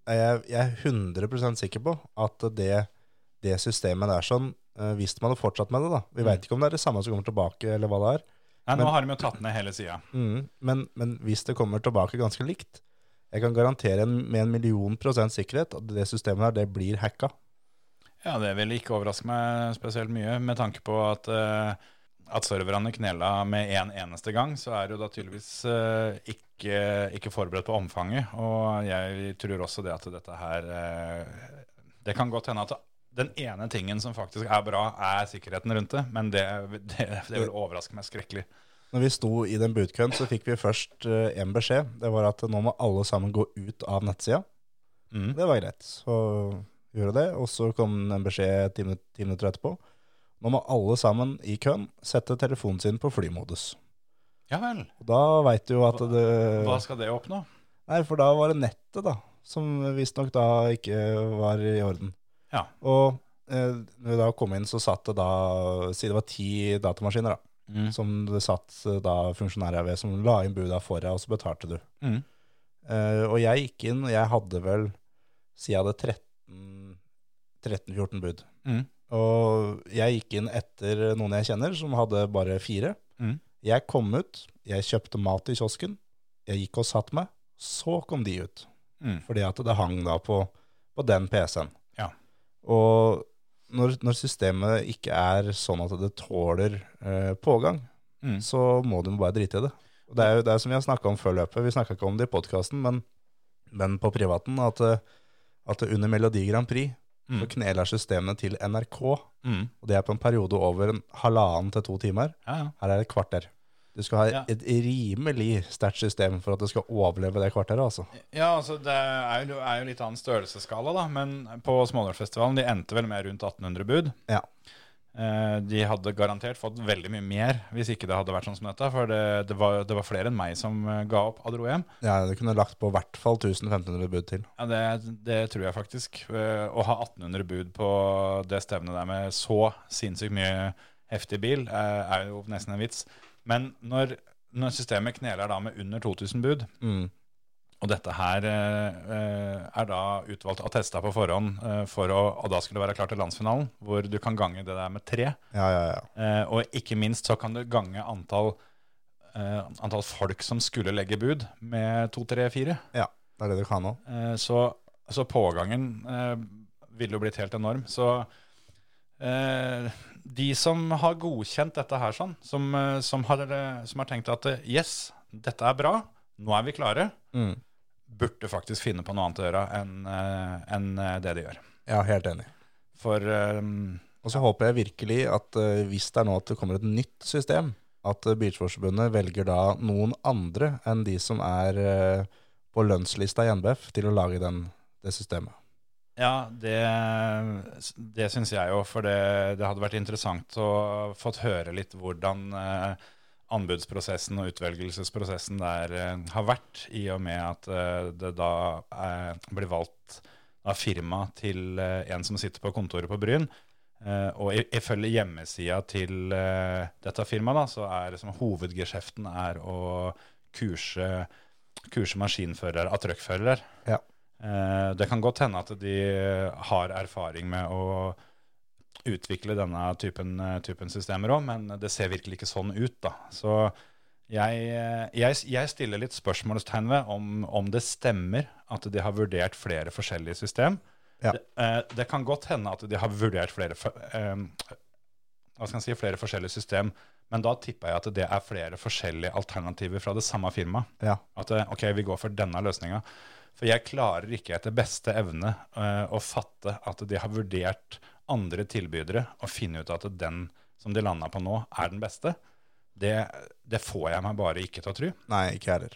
Speaker 1: er jeg, jeg er 100 sikker på at det, det systemet der sånn eh, Hvis man hadde fortsatt med det, da. Vi veit ikke om det er det samme som kommer tilbake, eller hva det er.
Speaker 2: Nei, nå
Speaker 1: Men-
Speaker 2: har de jo tatt ned hele sida.
Speaker 1: Mm, men, men hvis det kommer tilbake ganske likt Jeg kan garantere en, med en million prosent sikkerhet at det systemet her, det blir hacka.
Speaker 2: Ja, det vil ikke overraske meg spesielt mye, med tanke på at, eh, at serverne knela med en eneste gang, så er det jo da tydeligvis eh, ikke, ikke forberedt på omfanget. Og jeg tror også det at dette her eh, Det kan godt hende at den ene tingen som faktisk er bra, er sikkerheten rundt det, men det, det, det vil overraske meg skrekkelig.
Speaker 1: Når vi sto i den budkøen, så fikk vi først én beskjed. Det var at nå må alle sammen gå ut av nettsida.
Speaker 2: Mm.
Speaker 1: Det var greit. Så gjorde det. Og så kom en beskjed ti, minut ti minutter etterpå. Nå må alle sammen i køen sette telefonen sin på flymodus.
Speaker 2: Ja vel.
Speaker 1: Og da veit du jo at det
Speaker 2: Hva skal det oppnå?
Speaker 1: Nei, for da var det nettet, da. Som visstnok da ikke var i orden.
Speaker 2: Ja.
Speaker 1: Og eh, når vi da kom inn, så satt det da Si det var ti datamaskiner, da.
Speaker 2: Mm.
Speaker 1: Som det satt eh, da funksjonærer ved, som la inn buda for deg, og så betalte du.
Speaker 2: Mm.
Speaker 1: Eh, og jeg gikk inn, og jeg hadde vel Si jeg hadde 13-14 bud.
Speaker 2: Mm.
Speaker 1: Og jeg gikk inn etter noen jeg kjenner, som hadde bare fire.
Speaker 2: Mm.
Speaker 1: Jeg kom ut, jeg kjøpte mat i kiosken, jeg gikk og satt meg, så kom de ut.
Speaker 2: Mm.
Speaker 1: Fordi at det hang da på, på den PC-en.
Speaker 2: Ja.
Speaker 1: Og når, når systemet ikke er sånn at det tåler eh, pågang,
Speaker 2: Mm.
Speaker 1: så må du bare drite i det. Og det er jo det er som vi har snakka om før løpet, vi snakka ikke om det i podkasten, men, men på privaten, at, eh, at under Melodi Grand Prix
Speaker 2: Mm.
Speaker 1: så kneler systemet til NRK, og
Speaker 2: Mm.
Speaker 1: det er på en periode over en halvannen til to timer.
Speaker 2: Ja, ja.
Speaker 1: Her er det et kvarter. Du skal ha
Speaker 2: Ja.
Speaker 1: et rimelig sterkt system for at du skal overleve det kvarteret, altså.
Speaker 2: Ja, altså det er jo, er jo litt annen størrelsesskala, da. Men på Smådalsfestivalen de endte vel med rundt 1800 bud.
Speaker 1: Ja.
Speaker 2: Eh, de hadde garantert fått veldig mye mer hvis ikke det hadde vært sånn som dette. For det, det, var, det var flere enn meg som eh, ga opp og dro hjem.
Speaker 1: Ja, du kunne lagt på i hvert fall 1500 bud til.
Speaker 2: Ja, det, det tror jeg faktisk. Eh, Å ha 1800 bud på det stevnet der med så sinnssykt mye heftig bil, eh, er jo nesten en vits. Men når, når systemet kneler da med under 2000 bud,
Speaker 1: Mm.
Speaker 2: og dette her eh, eh, er da utvalgt attesta på forhånd, eh, for å, og da skulle det være klart til landsfinalen, hvor du kan gange det der med tre.
Speaker 1: Ja, ja, ja.
Speaker 2: Eh, og ikke minst så kan du gange antall, eh, antall folk som skulle legge bud, med to, tre, fire.
Speaker 1: ja. Det er det du kan nå.
Speaker 2: Eh, så, så pågangen eh, ville jo blitt helt enorm. Så eh, de som har godkjent dette her sånn, som, eh, som, har, eh, som har tenkt at eh, yes, dette er bra, nå er vi klare,
Speaker 1: Mm.
Speaker 2: burde faktisk finne på noe annet å gjøre enn eh, enn, eh, det de gjør.
Speaker 1: Ja, helt enig.
Speaker 2: For eh,
Speaker 1: Og så håper jeg virkelig at eh, hvis det er nå at det kommer et nytt system, at eh, Bilsportsforbundet velger da noen andre enn de som er eh, på lønnslista i NBF til å lage den, det systemet.
Speaker 2: ja, det, det syns jeg jo, for det, det hadde vært interessant å fått høre litt hvordan eh, anbudsprosessen og utvelgelsesprosessen der eh, har vært, i og med at eh, det da eh, blir valgt av firma til eh, en som sitter på kontoret på Bryn. Eh, og i- ifølge hjemmesida til eh, dette firmaet, da, så er liksom, hovedgeskjeften er å kurse, kurse maskinførere av trøkkførere.
Speaker 1: Ja.
Speaker 2: Eh, det kan godt hende at de har erfaring med å utvikle denne typen, eh, typen systemer òg, men det ser virkelig ikke sånn ut. da. Så jeg, eh, jeg, jeg stiller litt spørsmålstegn ved om, om det stemmer at de har vurdert flere forskjellige system.
Speaker 1: Ja.
Speaker 2: Det, eh, det kan godt hende at de har vurdert flere, for- eh, hva skal jeg si, flere forskjellige system, men da tipper jeg at det er flere forskjellige alternativer fra det samme firmaet.
Speaker 1: Ja.
Speaker 2: At eh, ok, vi går for denne løsninga. For jeg klarer ikke etter beste evne eh, å fatte at de har vurdert andre tilbydere og finne ut at den som de landa på nå, er den beste. Det, det får jeg meg bare ikke til å tro.
Speaker 1: Nei, ikke jeg heller.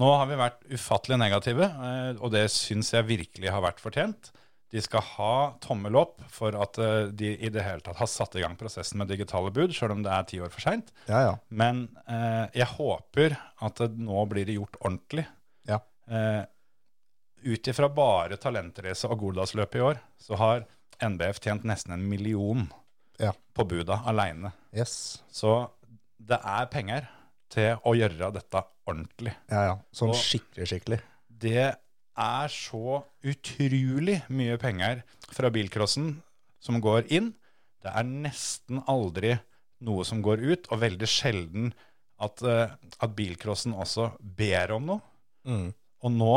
Speaker 2: Nå har vi vært ufattelig negative, eh, og det syns jeg virkelig har vært fortjent. De skal ha tommel opp for at eh, de i det hele tatt har satt i gang prosessen med digitale bud, sjøl om det er ti år for seint.
Speaker 1: Ja, ja.
Speaker 2: Men eh, jeg håper at det nå blir det gjort ordentlig.
Speaker 1: Ja.
Speaker 2: Eh, ut ifra bare talentrace og Goldalsløpet i år, så har NBF tjent nesten en million
Speaker 1: Ja.
Speaker 2: på buda aleine.
Speaker 1: Yes.
Speaker 2: Så det er penger til å gjøre dette ordentlig.
Speaker 1: Ja, ja. Sånn
Speaker 2: Og-
Speaker 1: skikkelig, skikkelig.
Speaker 2: Det er så utrolig mye penger fra bilcrossen som går inn. Det er nesten aldri noe som går ut, og veldig sjelden at, eh, at bilcrossen også ber om noe.
Speaker 1: Mm.
Speaker 2: Og nå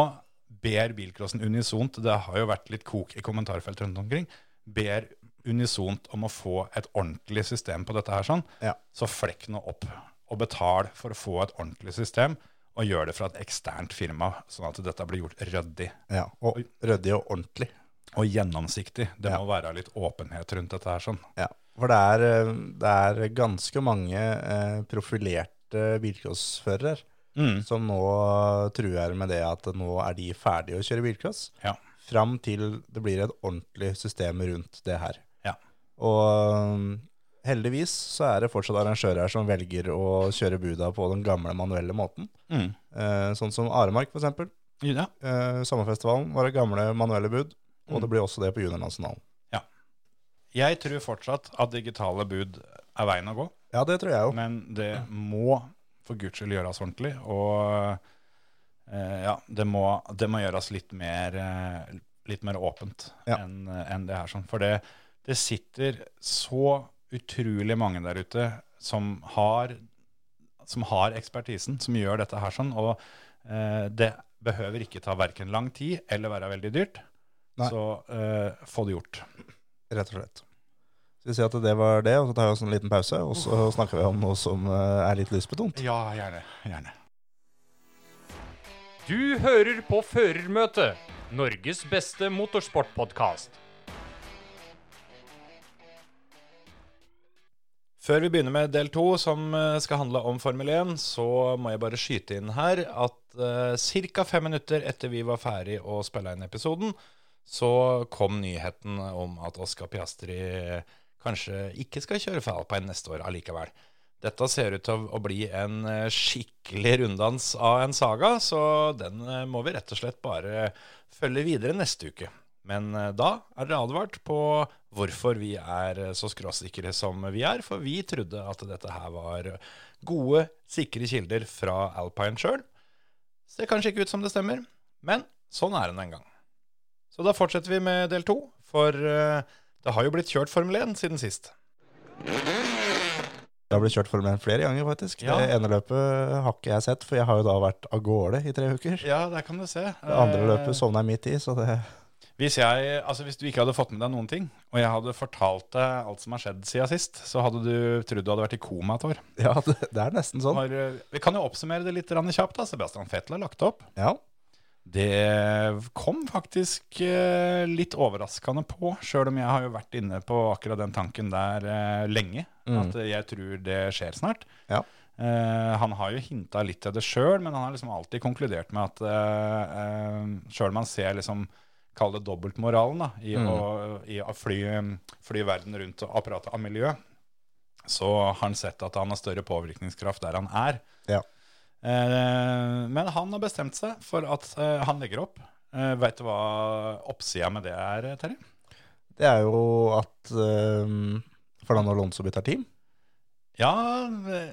Speaker 2: ber bilcrossen unisont, det har jo vært litt kok i kommentarfelt rundt omkring, ber unisont om å få et ordentlig system på dette her sånn,
Speaker 1: Ja.
Speaker 2: så flekk nå opp og betal for å få et ordentlig system, og gjør det fra et eksternt firma, sånn at dette blir gjort ryddig
Speaker 1: Ja. Og ryddig og ordentlig.
Speaker 2: og gjennomsiktig. Det
Speaker 1: Ja.
Speaker 2: må være litt åpenhet rundt dette her sånn.
Speaker 1: Ja, for det er, eh, det er ganske mange eh, profilerte bilcrossførere
Speaker 2: Mm.
Speaker 1: som nå truer med det at nå er de ferdige å kjøre bilcross,
Speaker 2: Ja.
Speaker 1: fram til det blir et ordentlig system rundt det her.
Speaker 2: Ja.
Speaker 1: Og eh, heldigvis så er det fortsatt arrangører som velger å kjøre buda på den gamle manuelle måten,
Speaker 2: Mm.
Speaker 1: eh, sånn som Aremark for eksempel.
Speaker 2: Ja.
Speaker 1: Eh, sommerfestivalen var det gamle manuelle bud, og
Speaker 2: Mm.
Speaker 1: det blir også det på juniornasjonalen.
Speaker 2: Ja. Jeg tror fortsatt at digitale bud er veien å gå,
Speaker 1: Ja, det tror jeg jo.
Speaker 2: men det må for guds skyld gjøres ordentlig. Og eh, ja, det må, det må gjøres litt mer, eh, litt mer åpent
Speaker 1: Ja.
Speaker 2: enn enn det her. Sånn. For det, det sitter så utrolig mange der ute som har, som har ekspertisen, som gjør dette her sånn. Og eh, det behøver ikke ta verken lang tid eller være veldig dyrt.
Speaker 1: Nei.
Speaker 2: Så eh, få det gjort.
Speaker 1: Rett og slett. Skal vi si at det var det, og så tar vi oss en liten pause, og så snakker vi om noe som eh, er litt lystbetont.
Speaker 2: Ja, gjerne. gjerne.
Speaker 3: Du hører på Førermøtet, Norges beste motorsportpodkast.
Speaker 2: Før vi begynner med del to, som eh, skal handle om Formel 1, så må jeg bare skyte inn her at eh, ca. fem minutter etter vi var ferdig å spille inn episoden, så kom nyheten om at Oscar Piastri kanskje ikke skal kjøre for alpine neste år allikevel. Dette ser ut til å bli en eh, skikkelig runddans av en saga, så den eh, må vi rett og slett bare følge videre neste uke. Men eh, da er dere advart på hvorfor vi er eh, så skråsikre som vi er, for vi trodde at dette her var gode, sikre kilder fra Alpine sjøl. Ser kanskje ikke ut som det stemmer, men sånn er det nå en gang. Så da fortsetter vi med del to, for eh, det har jo blitt kjørt Formel 1 siden sist.
Speaker 1: Det har blitt kjørt Formel 1 flere ganger, faktisk.
Speaker 2: Ja.
Speaker 1: Det ene løpet har ikke jeg sett, for jeg har jo da vært av gårde i tre uker.
Speaker 2: Ja, der kan du se.
Speaker 1: Det
Speaker 2: Eh.
Speaker 1: andre løpet sovna jeg midt i, så det
Speaker 2: Hvis, jeg, altså hvis du ikke hadde fått med deg noen ting, og jeg hadde fortalt deg alt som har skjedd siden sist, så hadde du trodd du hadde vært i koma et år.
Speaker 1: Ja, det, det er nesten sånn.
Speaker 2: har, eh, vi kan jo oppsummere det litt grann kjapt. da. Sebastian Vettel har lagt opp.
Speaker 1: Ja.
Speaker 2: Det kom faktisk eh, litt overraskende på, sjøl om jeg har jo vært inne på akkurat den tanken der eh, lenge. At eh, jeg tror det skjer snart.
Speaker 1: Ja.
Speaker 2: Eh, han har jo hinta litt til det sjøl, men han har liksom alltid konkludert med at eh, eh, sjøl om han ser liksom Kall det dobbeltmoralen da, i,
Speaker 1: Mm.
Speaker 2: å, i å fly, fly verden rundt og prate om miljø, så har han sett at han har større påvirkningskraft der han er.
Speaker 1: Ja.
Speaker 2: Eh, men han har bestemt seg for at eh, han legger opp. Eh, Veit du hva oppsida med det er, Terje?
Speaker 1: Det er jo at um, Fernando Alonso bytter team.
Speaker 2: Ja,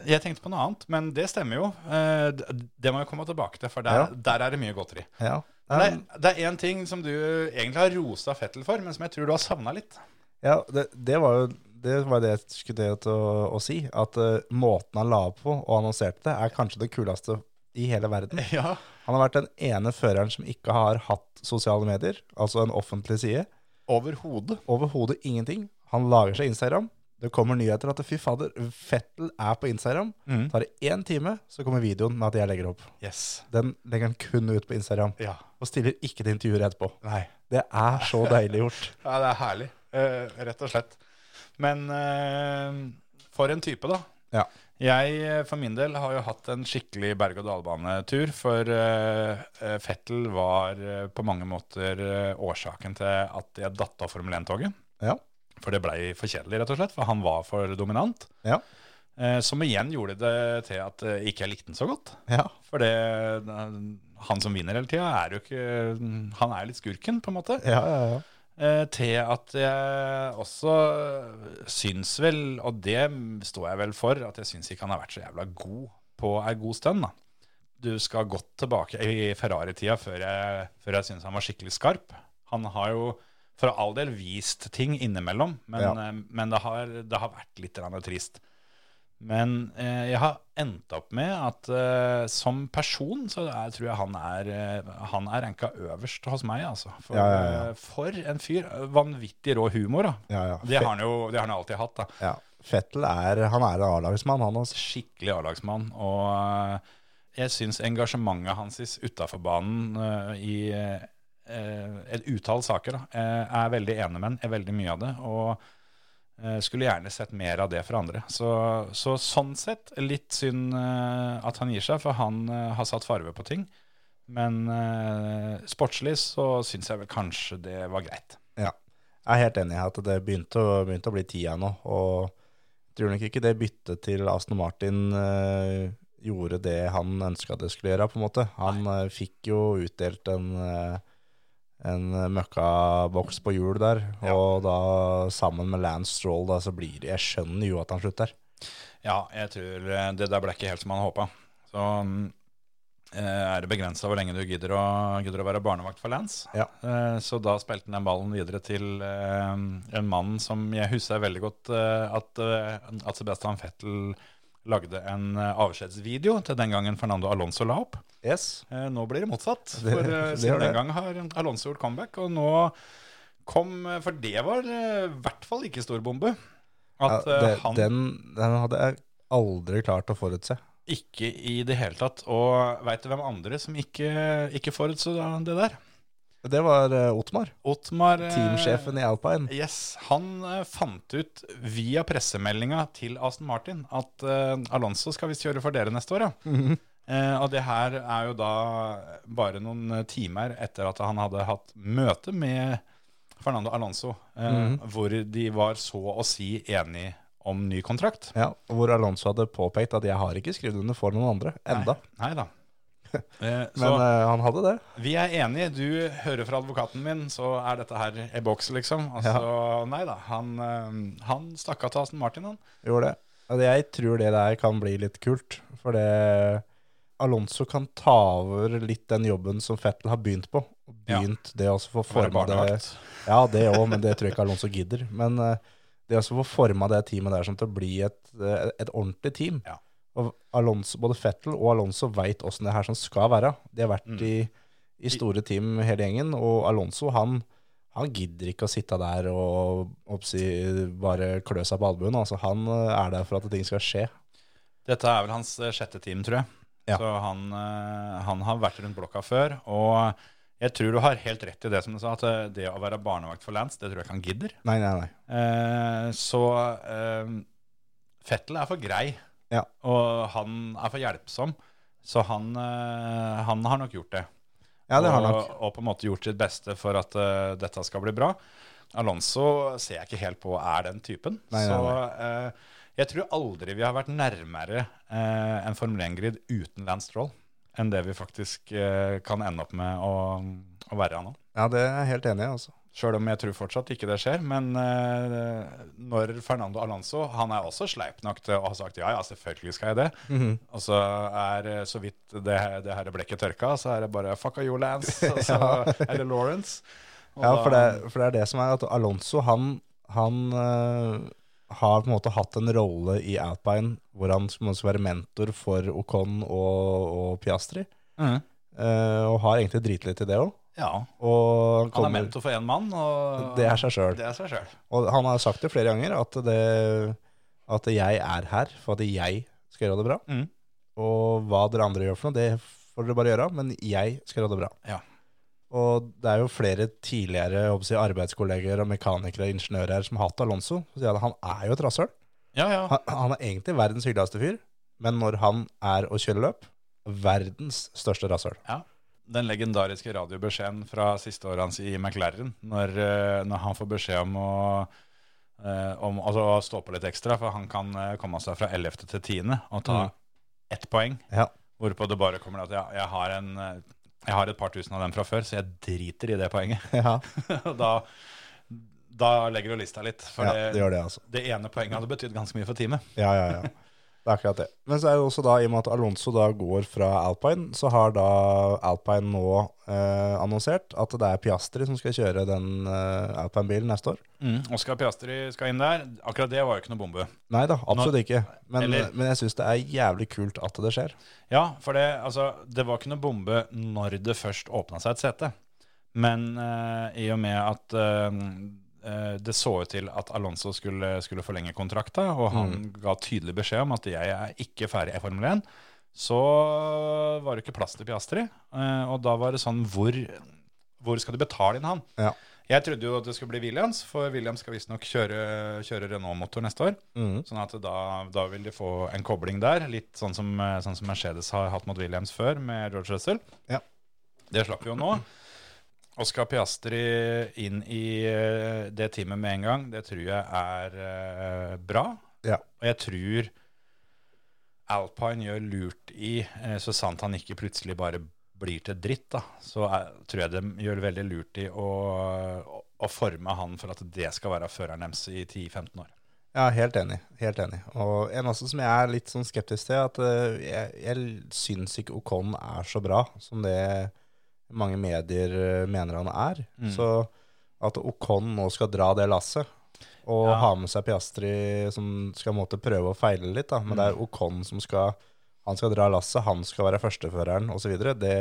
Speaker 2: jeg tenkte på noe annet, men det stemmer jo. Eh, d- Det må jeg komme tilbake til, for der,
Speaker 1: Ja.
Speaker 2: der er det mye godteri.
Speaker 1: Ja.
Speaker 2: Det er, det er én ting som du egentlig har rosa Fettel for, men som jeg tror du har savna litt.
Speaker 1: ja det, det var jo det, var det jeg skulle til å, å si. At eh, måten han la opp på og annonserte det, er kanskje det kuleste i hele verden.
Speaker 2: Ja,
Speaker 1: Han har vært den ene føreren som ikke har hatt sosiale medier, altså en offentlig side.
Speaker 2: Overhodet.
Speaker 1: Overhodet ingenting. Han lager seg Instagram. Det kommer nyheter at fy fader, Fettel er på Instagram.
Speaker 2: Mm.
Speaker 1: Tar det én time, så kommer videoen med at jeg legger opp.
Speaker 2: Yes.
Speaker 1: Den legger han kun ut på Instagram.
Speaker 2: Ja.
Speaker 1: Og stiller ikke til intervjuer etterpå.
Speaker 2: Nei.
Speaker 1: Det er så deilig gjort.
Speaker 2: Ja, det er herlig, eh, rett og slett. Men eh, for en type, da.
Speaker 1: Ja.
Speaker 2: Jeg eh, for min del har jo hatt en skikkelig berg-og-dal-bane-tur, for eh, eh, Fettel var eh, på mange måter eh, årsaken til at jeg datt av Formel 1-toget.
Speaker 1: Ja.
Speaker 2: For det blei for kjedelig, rett og slett, for han var for dominant.
Speaker 1: Ja.
Speaker 2: Eh, som igjen gjorde det til at eh, ikke jeg likte den så godt.
Speaker 1: Ja.
Speaker 2: For det, eh, han som vinner hele tida, er jo ikke mm, Han er litt skurken, på en måte.
Speaker 1: Ja, ja, ja.
Speaker 2: Eh, til at jeg også syns vel, og det står jeg vel for, at jeg syns ikke han har vært så jævla god på ei god stund. da. Du skal godt tilbake i Ferrari-tida før jeg, før jeg syns han var skikkelig skarp. Han har jo for all del vist ting innimellom, men,
Speaker 1: Ja.
Speaker 2: eh, men det, har, det har vært litt grann trist. Men eh, jeg har endt opp med at eh, som person så er, tror jeg han er, eh, han er ranka øverst hos meg, altså. For,
Speaker 1: Ja, ja, ja.
Speaker 2: eh, for en fyr. Vanvittig rå humor, da.
Speaker 1: ja, ja.
Speaker 2: Det har han jo det har han alltid hatt, da.
Speaker 1: Fe- ja. Fettel er, han er en A-lagsmann, han også.
Speaker 2: Skikkelig A-lagsmann. Og eh, jeg syns engasjementet hans utafor banen eh, i eh, et utall saker da, eh, er veldig enig med ham, er veldig mye av det. Og eh, skulle gjerne sett mer av det fra andre. Så, så sånn sett litt synd eh, at han gir seg, for han eh, har satt farve på ting. Men eh, sportslig så syns jeg vel kanskje det var greit.
Speaker 1: Ja. Jeg er helt enig i at det begynte å, begynte å bli tida nå, og jeg tror nok ikke det byttet til Aston Martin eh, gjorde det han ønska det skulle gjøre, på en måte. Han eh, fikk jo utdelt en, eh, en eh, møkkaboks på hjul der. Og da sammen med Lance Stroll, da, så blir det Jeg skjønner jo at han slutter.
Speaker 2: Ja, jeg tror eh, det der ble ikke helt som han håpa. Så mm, eh, er det begrensa hvor lenge du gidder å, gidder å være barnevakt for Lance.
Speaker 1: Ja.
Speaker 2: Eh, Så da spilte han den ballen videre til eh, en mann som jeg husker veldig godt eh, at, eh, at Sebastian Fettel lagde en eh, avskjedsvideo til den gangen Fernando Alonso la opp.
Speaker 1: Yes.
Speaker 2: Eh, Nå blir det motsatt.
Speaker 1: Det-
Speaker 2: For eh,
Speaker 1: det gjør
Speaker 2: siden
Speaker 1: det.
Speaker 2: den gang har Alonso gjort comeback, og nå kom eh, For det var eh, i hvert fall ikke stor bombe. At
Speaker 1: ja,
Speaker 2: eh,
Speaker 1: det,
Speaker 2: han
Speaker 1: den, den hadde jeg aldri klart å forutse.
Speaker 2: ikke i det hele tatt Og veit du hvem andre som ikke, ikke forutså det der?
Speaker 1: Det var eh, Otmar,
Speaker 2: Otmar eh,
Speaker 1: teamsjefen i Alpine.
Speaker 2: Yes, Han eh, fant ut via pressemeldinga til Aston Martin at eh, Alonso skal visst kjøre for dere neste år, ja.
Speaker 1: Mhm.
Speaker 2: Eh, og det her er jo da bare noen eh, timer etter at han hadde hatt møte med Fernando Alonso, eh,
Speaker 1: Mhm.
Speaker 2: hvor de var så å si enige om ny kontrakt.
Speaker 1: Ja, hvor Alonso hadde påpekt at 'jeg har ikke skrevet under for noen andre'. Enda.
Speaker 2: Nei da. Eh, så-
Speaker 1: Men eh, han hadde det.
Speaker 2: Vi er enige. Du hører fra advokaten min, så er dette her i boks, liksom. Altså, Nei da. Han, eh, han stakk av til Aston Martin, han.
Speaker 1: Gjorde det. Altså, Jeg tror det der kan bli litt kult, for det Alonso kan ta over litt den jobben som Fettel har begynt på. og
Speaker 2: Ja.
Speaker 1: Begynt det også for å
Speaker 2: For
Speaker 1: forme det
Speaker 2: barnevakt.
Speaker 1: Ja, det òg, men det tror jeg ikke Alonso gidder. Men eh, det også å få forma det teamet der som til å bli et, eh, et ordentlig team.
Speaker 2: Ja.
Speaker 1: Og Alonso, både Fettel og Alonso veit åssen det her som skal være. De har vært
Speaker 2: Mm.
Speaker 1: i, i store team hele gjengen, og Alonso han, han gidder ikke å sitte der og oppsi, bare klø seg på albuen. Altså, han eh, er der for at ting skal skje.
Speaker 2: Dette er vel hans eh, sjette team, tror jeg.
Speaker 1: Ja.
Speaker 2: Så han, eh, han har vært rundt blokka før. Og jeg tror du har helt rett i det som du sa, at eh, det å være barnevakt for Lance, det tror jeg ikke han gidder.
Speaker 1: Nei, nei, nei.
Speaker 2: Eh, så eh, Fettel er for grei,
Speaker 1: Ja.
Speaker 2: og han er for hjelpsom. Så han, eh, han har nok gjort det.
Speaker 1: Ja, det har han nok.
Speaker 2: og, og på en måte gjort sitt beste for at eh, dette skal bli bra. Alonso ser jeg ikke helt på er den typen.
Speaker 1: Nei, nei,
Speaker 2: så eh, jeg tror aldri vi har vært nærmere eh, en Formel 1-grid uten Lance Stroll enn det vi faktisk eh, kan ende opp med å, å være nå.
Speaker 1: Ja, det er jeg helt enig i, altså.
Speaker 2: Sjøl om jeg tror fortsatt ikke det skjer. Men eh, når Fernando Alonso Han er også sleip nok til å ha sagt ja, ja, selvfølgelig skal jeg det. Og så er eh, så vidt det, det her blekket tørka, så er det bare fucka you, Lance. Og så, Eller Lawrence. Og
Speaker 1: Ja, for det,
Speaker 2: da-
Speaker 1: for det er det som er at Alonso, han, han eh, har på en måte hatt en rolle i Alpine hvor han skal også være mentor for Ocon og, og Piastri,
Speaker 2: Mhm.
Speaker 1: eh, og har egentlig dritlitt i det òg.
Speaker 2: Ja.
Speaker 1: Og
Speaker 2: Han er
Speaker 1: kommer,
Speaker 2: mentor for én mann, og
Speaker 1: det er seg sjøl.
Speaker 2: det er seg sjøl.
Speaker 1: Og han har sagt det flere ganger, at, det, at jeg er her for at jeg skal gjøre det bra.
Speaker 2: Mhm.
Speaker 1: Og hva dere andre gjør for noe, det får dere bare gjøre, men jeg skal gjøre det bra.
Speaker 2: Ja.
Speaker 1: Og det er jo flere tidligere jeg håper å si, arbeidskolleger og mekanikere og ingeniører her som har hatt Alonso. Så sier han, han er jo et rasshøl.
Speaker 2: Ja, ja.
Speaker 1: Han, han er egentlig verdens hyggeligste fyr, men når han er og kjører løp, verdens største rasshøl.
Speaker 2: den legendariske radiobeskjeden fra siste året hans i McLaren, når, eh, når han får beskjed om å eh, om, altså, å stå på litt ekstra, for han kan eh, komme seg fra 11. til 10. og ta
Speaker 1: Mhm.
Speaker 2: ett poeng.
Speaker 1: Ja.
Speaker 2: Hvorpå det bare kommer at jeg, jeg, har en, eh, jeg har et par tusen av dem fra før, så jeg driter i det poenget.
Speaker 1: Ja,
Speaker 2: Og da, da legger du lista litt. For
Speaker 1: ja
Speaker 2: det,
Speaker 1: det gjør det, altså.
Speaker 2: det ene poenget hadde betydd ganske mye for teamet.
Speaker 1: Ja, ja, ja. Det er akkurat det. Men så er det også da, i og med at Alonso da går fra Alpine, så har da Alpine nå eh, annonsert at det er Piastri som skal kjøre den eh, Alpine-bilen neste år.
Speaker 2: Oskar Piastri skal inn der. Akkurat det var jo ikke noe bombe.
Speaker 1: Nei da, absolutt ikke. Men,
Speaker 2: eller-
Speaker 1: men jeg syns det er jævlig kult at det skjer.
Speaker 2: Ja, for det, altså, det var ikke noe bombe når det først åpna seg et sete. Men eh, i og med at eh, eh, det så ut til at Alonso skulle, skulle forlenge kontrakta, og han ga tydelig beskjed om at jeg er ikke ferdig i Formel 1, så var det ikke plass til Piastri. Eh, og da var det sånn Hvor, hvor skal du betale inn han?
Speaker 1: Ja.
Speaker 2: Jeg trodde jo at det skulle bli Williams, for Williams skal visstnok kjøre, kjøre Renault-motor neste år.
Speaker 1: Mhm.
Speaker 2: Sånn at da, da vil de få en kobling der, litt sånn som, eh, sånn som Mercedes har hatt mot Williams før med George Russell.
Speaker 1: Ja.
Speaker 2: Det slapp vi jo nå. Og skal Piastri inn i eh, det teamet med en gang, det tror jeg er eh, bra.
Speaker 1: Ja.
Speaker 2: Og jeg tror Alpine gjør lurt i, eh, så sant han ikke plutselig bare blir til dritt, da, så er, tror jeg de gjør veldig lurt i å, å, å forme han for at det skal være føreren deres i 10-15 år.
Speaker 1: Ja, helt enig. Helt enig. Og en også som jeg er litt sånn skeptisk til, at eh, jeg, jeg syns ikke Ocon er så bra som det mange medier eh, mener han er.
Speaker 2: Mm.
Speaker 1: Så at Ocon nå skal dra det lasset, og
Speaker 2: Ja.
Speaker 1: ha med seg Piastri som skal på en måte prøve å feile litt, da. men det
Speaker 2: Mm.
Speaker 1: er Ocon som skal han skal dra lasset, han skal være førsteføreren osv. Det,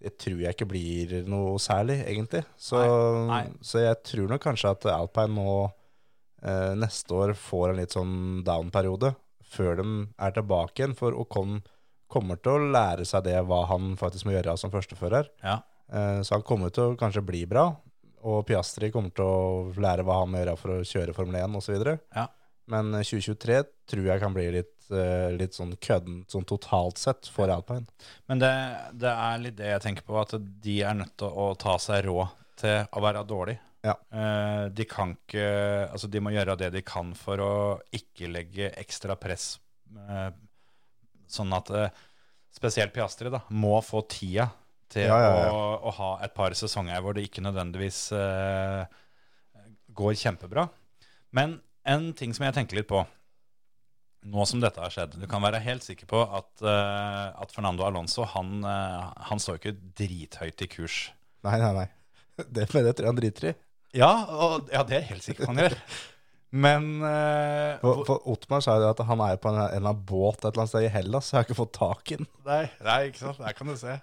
Speaker 1: det tror jeg ikke blir noe særlig, egentlig. Så,
Speaker 2: Nei, nei.
Speaker 1: så jeg tror nok kanskje at Alpine nå eh, neste år får en litt sånn down-periode før de er tilbake igjen. For Ocon kommer til å lære seg det hva han faktisk må gjøre som førstefører.
Speaker 2: Ja.
Speaker 1: Eh, så han kommer til å kanskje bli bra. Og Piastri kommer til å lære hva han må gjøre for å kjøre Formel 1 osv.
Speaker 2: Ja.
Speaker 1: Men 2023 tror jeg kan bli litt, eh, litt sånn køddent sånn totalt sett for alpine.
Speaker 2: Men det, det er litt det jeg tenker på, at de er nødt til å ta seg råd til å være dårlig.
Speaker 1: Ja.
Speaker 2: Eh, de kan ikke Altså, de må gjøre det de kan for å ikke legge ekstra press, eh, sånn at eh, spesielt Piastri da, må få tida til
Speaker 1: Ja, ja, ja.
Speaker 2: Å, å ha et par sesonger hvor det ikke nødvendigvis eh, går kjempebra. Men en ting som jeg tenker litt på, nå som dette har skjedd, du kan være helt sikker på at, eh, at Fernando Alonso, han, eh, han står ikke drithøyt i kurs.
Speaker 1: Nei, nei, nei. Det, men det tror jeg han driter i.
Speaker 2: Ja, og, ja det er jeg helt sikker på han gjør. Men eh,
Speaker 1: For, for Otmar sa jo det at han er jo på en, en eller annen båt et eller annet sted i Hellas, så jeg har ikke fått tak i den.
Speaker 2: Nei, nei, ikke sant? Der kan du se.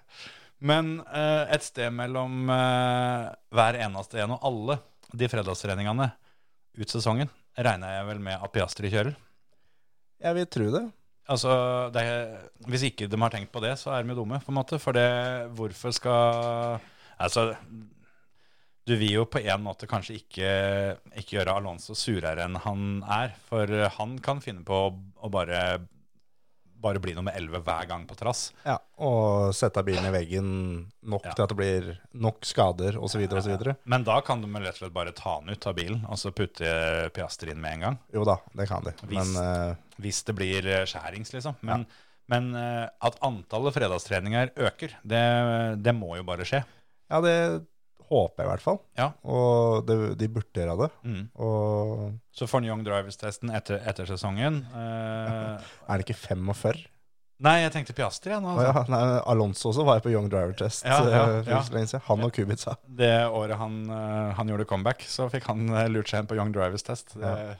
Speaker 2: Men eh, et sted mellom eh, hver eneste en og alle de fredagstreningene ut sesongen, regner jeg vel med at Piastri kjører.
Speaker 1: Jeg vil tro det.
Speaker 2: Altså, det, Hvis ikke de har tenkt på det, så er de jo dumme, på en måte. For det, hvorfor skal Altså, du vil jo på en måte kanskje ikke, ikke gjøre Alonso surere enn han er. For han kan finne på å, å bare, bare bli nummer 11 hver gang på trass.
Speaker 1: Ja, Og sette bilen i veggen nok
Speaker 2: Ja.
Speaker 1: til at det blir nok skader osv. osv.
Speaker 2: Men da kan de vel rett og slett bare ta den ut av bilen og så putte Piastri inn med en gang.
Speaker 1: Jo da, det kan de. Men
Speaker 2: Visst.
Speaker 1: eh,
Speaker 2: Hvis det blir eh, skjærings, liksom. Men, men eh, at antallet fredagstreninger øker, det, det må jo bare skje.
Speaker 1: ja, det håper jeg i hvert fall.
Speaker 2: Ja.
Speaker 1: Og det, de burde gjøre det.
Speaker 2: Mm.
Speaker 1: Og
Speaker 2: Så får han Young Drivers-testen etter, etter sesongen. Eh,
Speaker 1: er det ikke 45?
Speaker 2: nei, jeg tenkte Piastri, jeg nå.
Speaker 1: Å
Speaker 2: Altså.
Speaker 1: ja, nei, Alonso også var jo på Young Driver Test
Speaker 2: Ja, ja,
Speaker 1: eh, for ikke
Speaker 2: ja.
Speaker 1: så lenge siden. Han og Kubica.
Speaker 2: Det året han, eh, han gjorde comeback, så fikk han eh, lurt seg inn på Young Drivers-test.
Speaker 1: Ja.
Speaker 2: Det-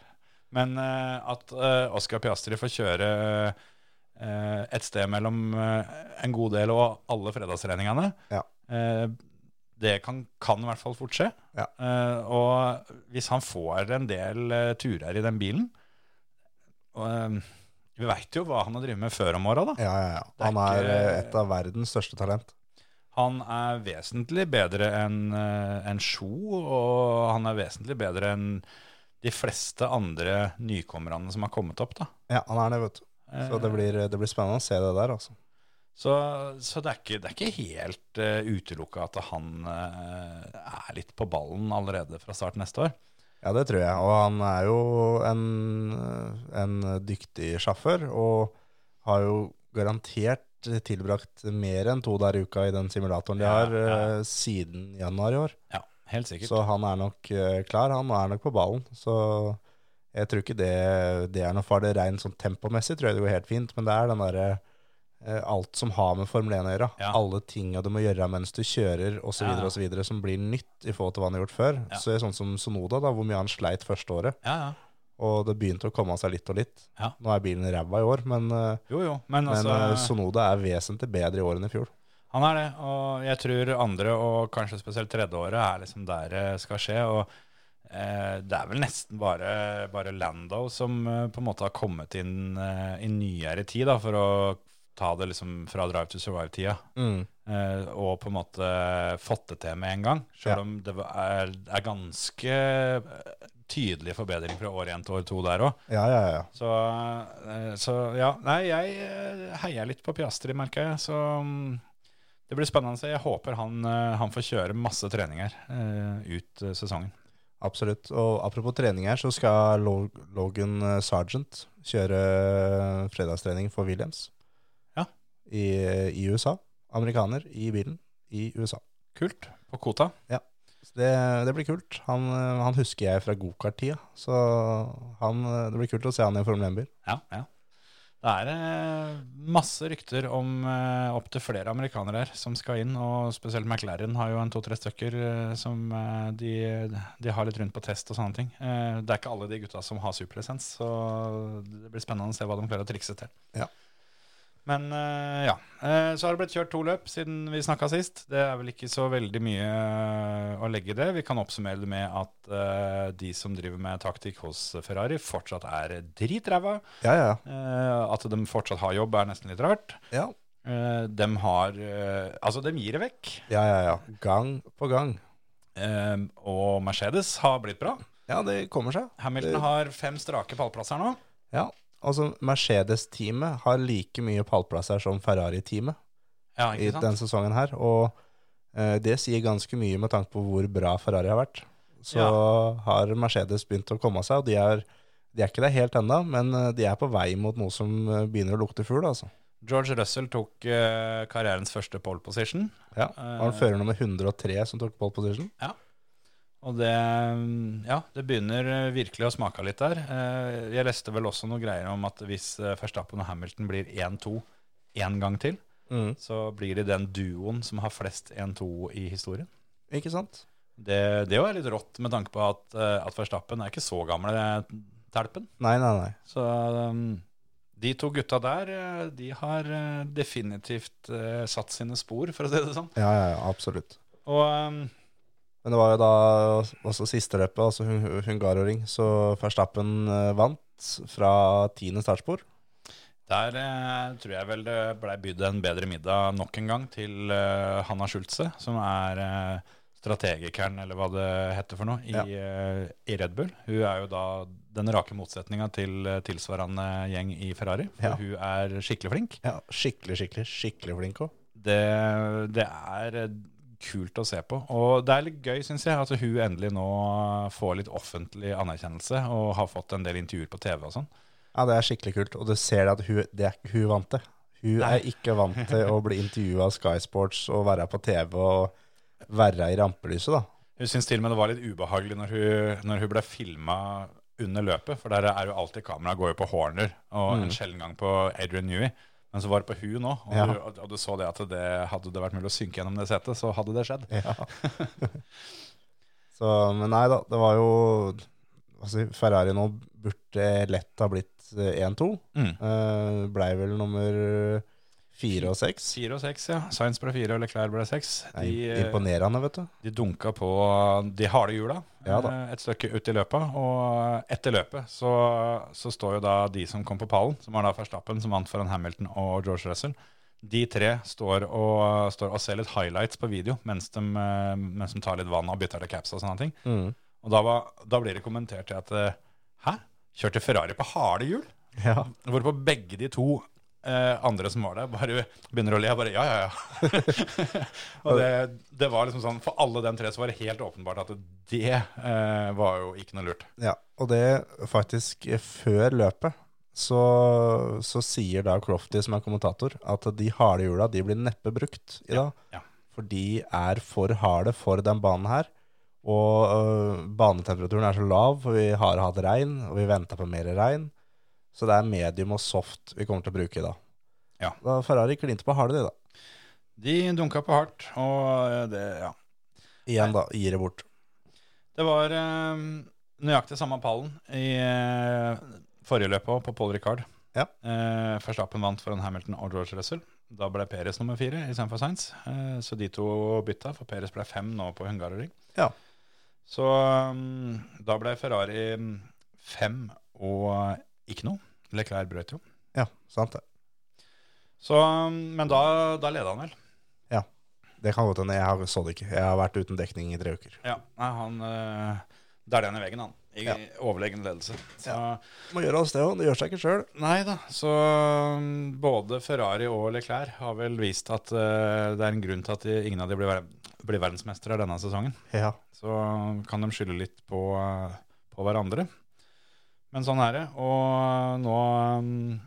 Speaker 2: Men eh, at eh, Oscar Piastri får kjøre eh, et sted mellom eh, en god del og alle fredagstreningene,
Speaker 1: Ja.
Speaker 2: eh, det kan, kan i hvert fall fort skje.
Speaker 1: Ja.
Speaker 2: Eh, og hvis han får en del eh, turer i den bilen og, eh, Vi veit jo hva han har drevet med før om åra, da.
Speaker 1: Ja, ja, ja.
Speaker 2: Det er
Speaker 1: Han er
Speaker 2: ikke-
Speaker 1: eh, et av verdens største talent.
Speaker 2: Han er vesentlig bedre enn eh, enn Sjo, og han er vesentlig bedre enn de fleste andre nykommerne som har kommet opp. da.
Speaker 1: Ja, han er det, vet du.
Speaker 2: Eh.
Speaker 1: Så det blir, det blir spennende å se det der, altså.
Speaker 2: Så, så det, er ikke, det er ikke helt uh, utelukka at han eh, er litt på ballen allerede fra start neste år.
Speaker 1: Ja, det tror jeg. Og han er jo en, en dyktig sjåfør, og har jo garantert tilbrakt mer enn to dager i uka i den simulatoren de
Speaker 2: Ja,
Speaker 1: har,
Speaker 2: ja.
Speaker 1: eh, siden januar i år.
Speaker 2: Ja, helt sikkert.
Speaker 1: Så han er nok eh, klar, han er nok på ballen. Så jeg tror ikke det, det er noe farlig. Rent sånn tempomessig tror jeg det går helt fint, men det er den derre eh, Alt som har med Formel 1 å gjøre,
Speaker 2: Ja.
Speaker 1: alle tinga du må gjøre mens du kjører osv.,
Speaker 2: Ja.
Speaker 1: osv., som blir nytt i forhold til hva han har gjort før.
Speaker 2: Ja.
Speaker 1: Så det er sånn som Sonoda, da, hvor mye han sleit første året.
Speaker 2: Ja, ja.
Speaker 1: Og det begynte å komme av seg litt og litt.
Speaker 2: Ja.
Speaker 1: Nå er bilen ræva i år, men, eh,
Speaker 2: Jo, jo. Men,
Speaker 1: men
Speaker 2: altså,
Speaker 1: eh, Sonoda er vesentlig bedre i år enn i fjor.
Speaker 2: Han er det, og jeg tror andre og kanskje spesielt tredje året er liksom der det skal skje. og eh, Det er vel nesten bare, bare Lando som eh, på en måte har kommet inn eh, i nyere tid, da, for å ta det liksom fra drive to survive-tida. Eh, og på en måte fått det til med en gang. Selv
Speaker 1: Ja.
Speaker 2: om det var- er, er ganske eh, tydelig forbedring fra år én til år to der òg.
Speaker 1: Ja, ja, ja.
Speaker 2: Så, eh, så ja, nei, jeg eh, heier litt på Piastri, merker jeg. Så mm, det blir spennende. å se. Jeg håper han, eh, han får kjøre masse treninger eh, ut eh, sesongen.
Speaker 1: Absolutt. Og apropos trening her, så skal Lo- Logan eh, Sargent eh, kjøre fredagstrening for Williams
Speaker 2: Ja.
Speaker 1: eh, i, i USA. amerikaner i bilen i USA.
Speaker 2: Kult. På kvota.
Speaker 1: Så det, det blir kult. Han, eh, han husker jeg fra gokart-tida, så han, eh, det blir kult å se han i en Formel 1-bil.
Speaker 2: Ja, ja. Det er eh, masse rykter om eh, opptil flere amerikanere her som skal inn, og spesielt McLaren har jo en to-tre stykker eh, som eh, de, de har litt rundt på test og sånne ting. Eh, det er ikke alle de gutta som har superlisens, så det blir spennende å se hva de klarer å trikse til.
Speaker 1: Ja.
Speaker 2: Men eh, ja. Eh, så har det blitt kjørt to løp siden vi snakka sist. Det er vel ikke så veldig mye eh, å legge i det. Vi kan oppsummere det med at eh, de som driver med taktikk hos Ferrari, fortsatt er dritræva.
Speaker 1: Ja, ja,
Speaker 2: Eh, at de fortsatt har jobb, er nesten litt rart.
Speaker 1: ja.
Speaker 2: Eh, de har eh, Altså, de gir det vekk.
Speaker 1: Ja, ja, ja. Gang på gang.
Speaker 2: Eh, og Mercedes har blitt bra.
Speaker 1: Ja, det kommer seg.
Speaker 2: Hamilton har fem strake pallplasser nå.
Speaker 1: Ja, altså Mercedes-teamet har like mye pallplasser som Ferrari-teamet
Speaker 2: Ja,
Speaker 1: i
Speaker 2: ikke sant?
Speaker 1: denne sesongen her, og eh, det sier ganske mye med tanke på hvor bra Ferrari har vært. Så har Mercedes begynt å komme seg, og de er, de er ikke der helt ennå, men eh, de er på vei mot noe som eh, begynner å lukte fugl, altså.
Speaker 2: George Russell tok eh, karrierens første pole position.
Speaker 1: Ja, var han fører nummer 103 som tok pole position?
Speaker 2: Og det, mm, ja, det begynner eh, virkelig å smake litt der. Eh, Jeg leste vel også noen greier om at hvis eh, Verstappen og Hamilton blir 1-2 én gang til,
Speaker 1: Mm.
Speaker 2: så blir de den duoen som har flest 1-2 i historien.
Speaker 1: Ikke sant?
Speaker 2: Det, det var litt rått med tanke på at, eh, at Verstappen er ikke så gamle eh, telpen.
Speaker 1: Nei, nei, nei.
Speaker 2: Så um, de to gutta der, eh, de har eh, definitivt eh, satt sine spor, for å si det sånn.
Speaker 1: Ja, ja, ja, absolutt.
Speaker 2: Og um,
Speaker 1: Men det var jo da også siste løpet, altså Hun- Hungaroring, så Verstappen eh, vant fra tiende startspor.
Speaker 2: der eh, tror jeg vel det blei bydd en bedre middag nok en gang til eh, Hanna Schultze, som er eh, strategikeren, eller hva det heter for noe, i,
Speaker 1: Ja.
Speaker 2: eh, i Red Bull. Hun er jo da den rake motsetninga til eh, tilsvarende gjeng i Ferrari, for
Speaker 1: Ja.
Speaker 2: hun er skikkelig flink.
Speaker 1: Ja, skikkelig, skikkelig, skikkelig flink òg.
Speaker 2: det, det er eh, kult å se på. Og det er litt gøy, syns jeg, at hun endelig nå får litt offentlig anerkjennelse og har fått en del intervjuer på TV og sånn.
Speaker 1: Ja, det er skikkelig kult. Og du ser det at hun, det er, ikke- hun vant det. Hun
Speaker 2: Nei.
Speaker 1: er ikke vant til å bli intervjua av Sky Sports og være på TV og være i rampelyset, da.
Speaker 2: Hun syns til og med det var litt ubehagelig når hun, når hun ble filma under løpet, for der er jo alltid kamera går jo på Horner og en sjelden gang på Adrian Newey. Men så var det på hun nå, og,
Speaker 1: Ja.
Speaker 2: du, og- og du så det at det, hadde det vært mulig å synke gjennom det setet, så hadde det skjedd.
Speaker 1: Ja. så, men nei da, det var jo altså, Ferrari nå burde lett ha blitt eh, 1-2.
Speaker 2: Mm.
Speaker 1: Eh, Blei vel nummer fire og seks.
Speaker 2: Fire og seks, ja. Sainz ble fire, og Leclerc ble seks.
Speaker 1: Det
Speaker 2: De,
Speaker 1: er
Speaker 2: eh,
Speaker 1: imponerende, vet du.
Speaker 2: De dunka på de harde hjula
Speaker 1: Ja da.
Speaker 2: eh, et stykke ut i løpet. Og etter løpet så, så står jo da de som kom på pallen, som var da Verstappen, som vant foran Hamilton og George Russell. De tre står og, står og ser litt highlights på video mens de, eh, mens de tar litt vann og bytter til caps og sånne ting.
Speaker 1: Mm.
Speaker 2: Og da, var, da blir det kommentert til at eh, Hæ? Kjørte Ferrari på harde hjul?
Speaker 1: Ja.
Speaker 2: Hvorpå begge de to eh, andre som var der, bare begynner å le. Jeg bare ja, ja, ja. og det, det var liksom sånn For alle dem tre så var det helt åpenbart at det eh, var jo ikke noe lurt.
Speaker 1: ja. Og det faktisk eh, før løpet, så, så sier da Crofty, som er kommentator, at de harde hjula de blir neppe brukt i dag.
Speaker 2: ja.
Speaker 1: For de er for harde for den banen her. Og øh, banetemperaturen er så lav, for vi har hatt regn, og vi venter på mer regn. Så det er medium og soft vi kommer til å bruke i dag.
Speaker 2: Ja.
Speaker 1: Da Ferrari klinte på harde, de, da.
Speaker 2: De dunka på hardt, og eh, det Ja.
Speaker 1: Igjen, da. Gir det bort.
Speaker 2: Det var eh, nøyaktig samme pallen i eh, forrige løp også, på Paul Ricard.
Speaker 1: Ja.
Speaker 2: Eh, Verstappen vant foran Hamilton og George Russell. Da ble Peres nummer fire istedenfor Sainz. Eh, så de to bytta, for Peres ble fem nå på Hungaroring.
Speaker 1: Ja.
Speaker 2: Så um, da ble Ferrari mm, fem og ikke noe. Leclerc brøt jo.
Speaker 1: Ja, sant det.
Speaker 2: Så, um, men da, da leda han vel.
Speaker 1: Det kan godt hende. Jeg har- så det ikke. Jeg har vært uten dekning i tre uker.
Speaker 2: Ja, nei, han eh, Der er han i veggen, han. I
Speaker 1: Ja.
Speaker 2: overlegen ledelse. Så,
Speaker 1: Må gjøre oss det òg. Det gjør seg ikke sjøl.
Speaker 2: Nei da, så um, både Ferrari og Leclerc har vel vist at eh, det er en grunn til at de, ingen av de blir, ver blir verdensmestere denne sesongen.
Speaker 1: Ja.
Speaker 2: Så um, kan de skylde litt på, eh, på hverandre. uh, Men sånn er det. Og nå um,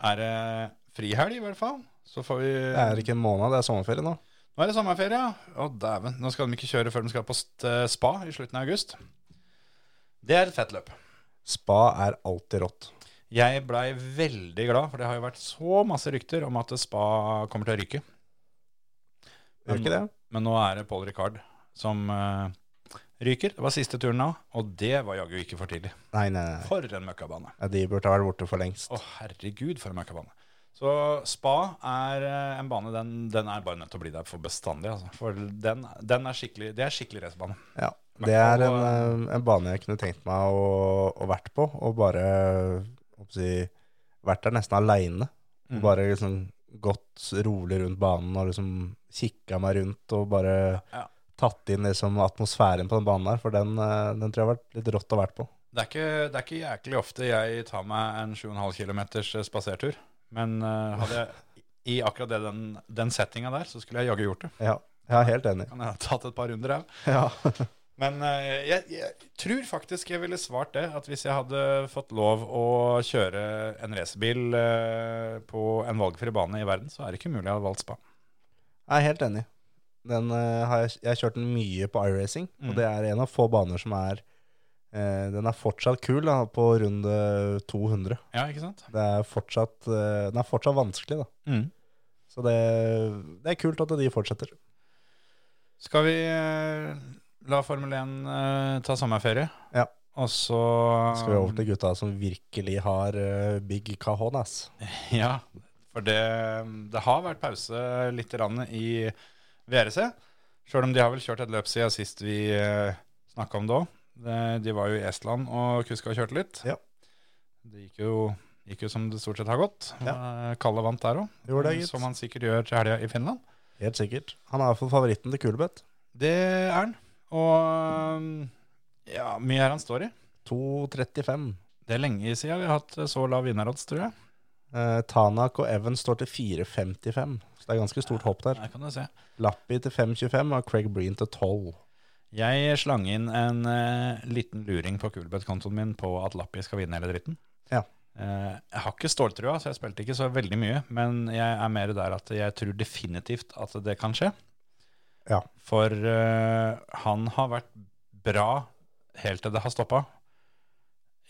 Speaker 2: er det frihelg, i hvert fall. Så får vi
Speaker 1: Det er ikke en måned, det er sommerferie nå.
Speaker 2: Nå er det sommerferie, ja. Å, dæven. Nå skal de ikke kjøre før de skal på st spa i slutten av august. Det er et fett løp.
Speaker 1: Spa er alltid rått.
Speaker 2: Jeg blei veldig glad, for det har jo vært så masse rykter om at spa kommer til å ryke.
Speaker 1: Gjør ikke det?
Speaker 2: Men nå er det Paul Ricard som eh, ryker. Det var siste turen nå, og det var jaggu ikke for tidlig.
Speaker 1: Nei, nei, nei.
Speaker 2: For en møkkabane.
Speaker 1: Ja, De burde ha vært borte for lengst.
Speaker 2: Å, herregud, for en møkkabane. Så Spa er eh, en bane den, den er bare nødt til å bli der for bestandig. Altså. For den, den er skikkelig, det er skikkelig racerbane.
Speaker 1: Ja. Det er en, eh, en bane jeg kunne tenkt meg å, å vært på, og bare hva skal jeg si, vært der nesten aleine.
Speaker 2: Mm.
Speaker 1: Bare liksom gått rolig rundt banen og liksom kikka meg rundt og bare
Speaker 2: Ja.
Speaker 1: tatt inn liksom atmosfæren på den banen der, for den, eh, den tror jeg har vært litt rått å vært på.
Speaker 2: Det er, ikke, det er ikke jæklig ofte jeg tar meg en 7,5 km spasertur. Men eh, hadde jeg i akkurat det, den, den settinga der, så skulle jeg jaggu gjort det.
Speaker 1: Ja, jeg er helt enig.
Speaker 2: Kan jeg ha tatt et par runder her.
Speaker 1: Ja.
Speaker 2: Men eh, jeg, jeg tror faktisk jeg ville svart det, at hvis jeg hadde fått lov å kjøre en racerbil eh, på en valgfri bane i verden, så er det ikke mulig jeg hadde valgt spa.
Speaker 1: Jeg er helt enig. Den, eh, har jeg, jeg har kjørt den mye på iRacing,
Speaker 2: Mm.
Speaker 1: og det er en av få baner som er eh, Den er fortsatt kul da, på runde 200.
Speaker 2: Ja, ikke sant?
Speaker 1: Det er fortsatt, eh, den er fortsatt vanskelig, da.
Speaker 2: Mm.
Speaker 1: Så det, det er kult at de fortsetter.
Speaker 2: Skal vi eh, la Formel 1 eh, ta sommerferie?
Speaker 1: Ja.
Speaker 2: Og så
Speaker 1: Skal vi over til gutta som virkelig har eh, big cajonas.
Speaker 2: Ja, for det, det har vært pause litt grann i VRC. Sjøl om de har vel kjørt et løp siden sist vi snakka om det òg. De var jo i Estland og kuska og kjørte litt.
Speaker 1: Ja.
Speaker 2: Det gikk jo, gikk jo som det stort sett har gått. Eh, Kalle vant der òg,
Speaker 1: Gjorde det, gitt.
Speaker 2: som han sikkert gjør til helga i Finland.
Speaker 1: Helt sikkert. Han er iallfall favoritten til Kulebeth.
Speaker 2: Det er han. Og mm, ja, mye er han står i.
Speaker 1: 2.35.
Speaker 2: Det er lenge siden vi har hatt så lav vinnerodds, tror jeg.
Speaker 1: Eh, Tanak og Evans står til 4.55, så det er ganske stort hopp der.
Speaker 2: Der kan du se.
Speaker 1: Lappi til 5.25 og Craig Breen til 12.
Speaker 2: Jeg slang inn en eh, liten luring på Kulbeth-kontoen min på at Lappi skal vinne hele dritten.
Speaker 1: Ja.
Speaker 2: Eh, jeg har ikke ståltrua, så jeg spilte ikke så veldig mye. Men jeg er mer der at jeg tror definitivt at det kan skje.
Speaker 1: Ja.
Speaker 2: For eh, han har vært bra helt til det har stoppa.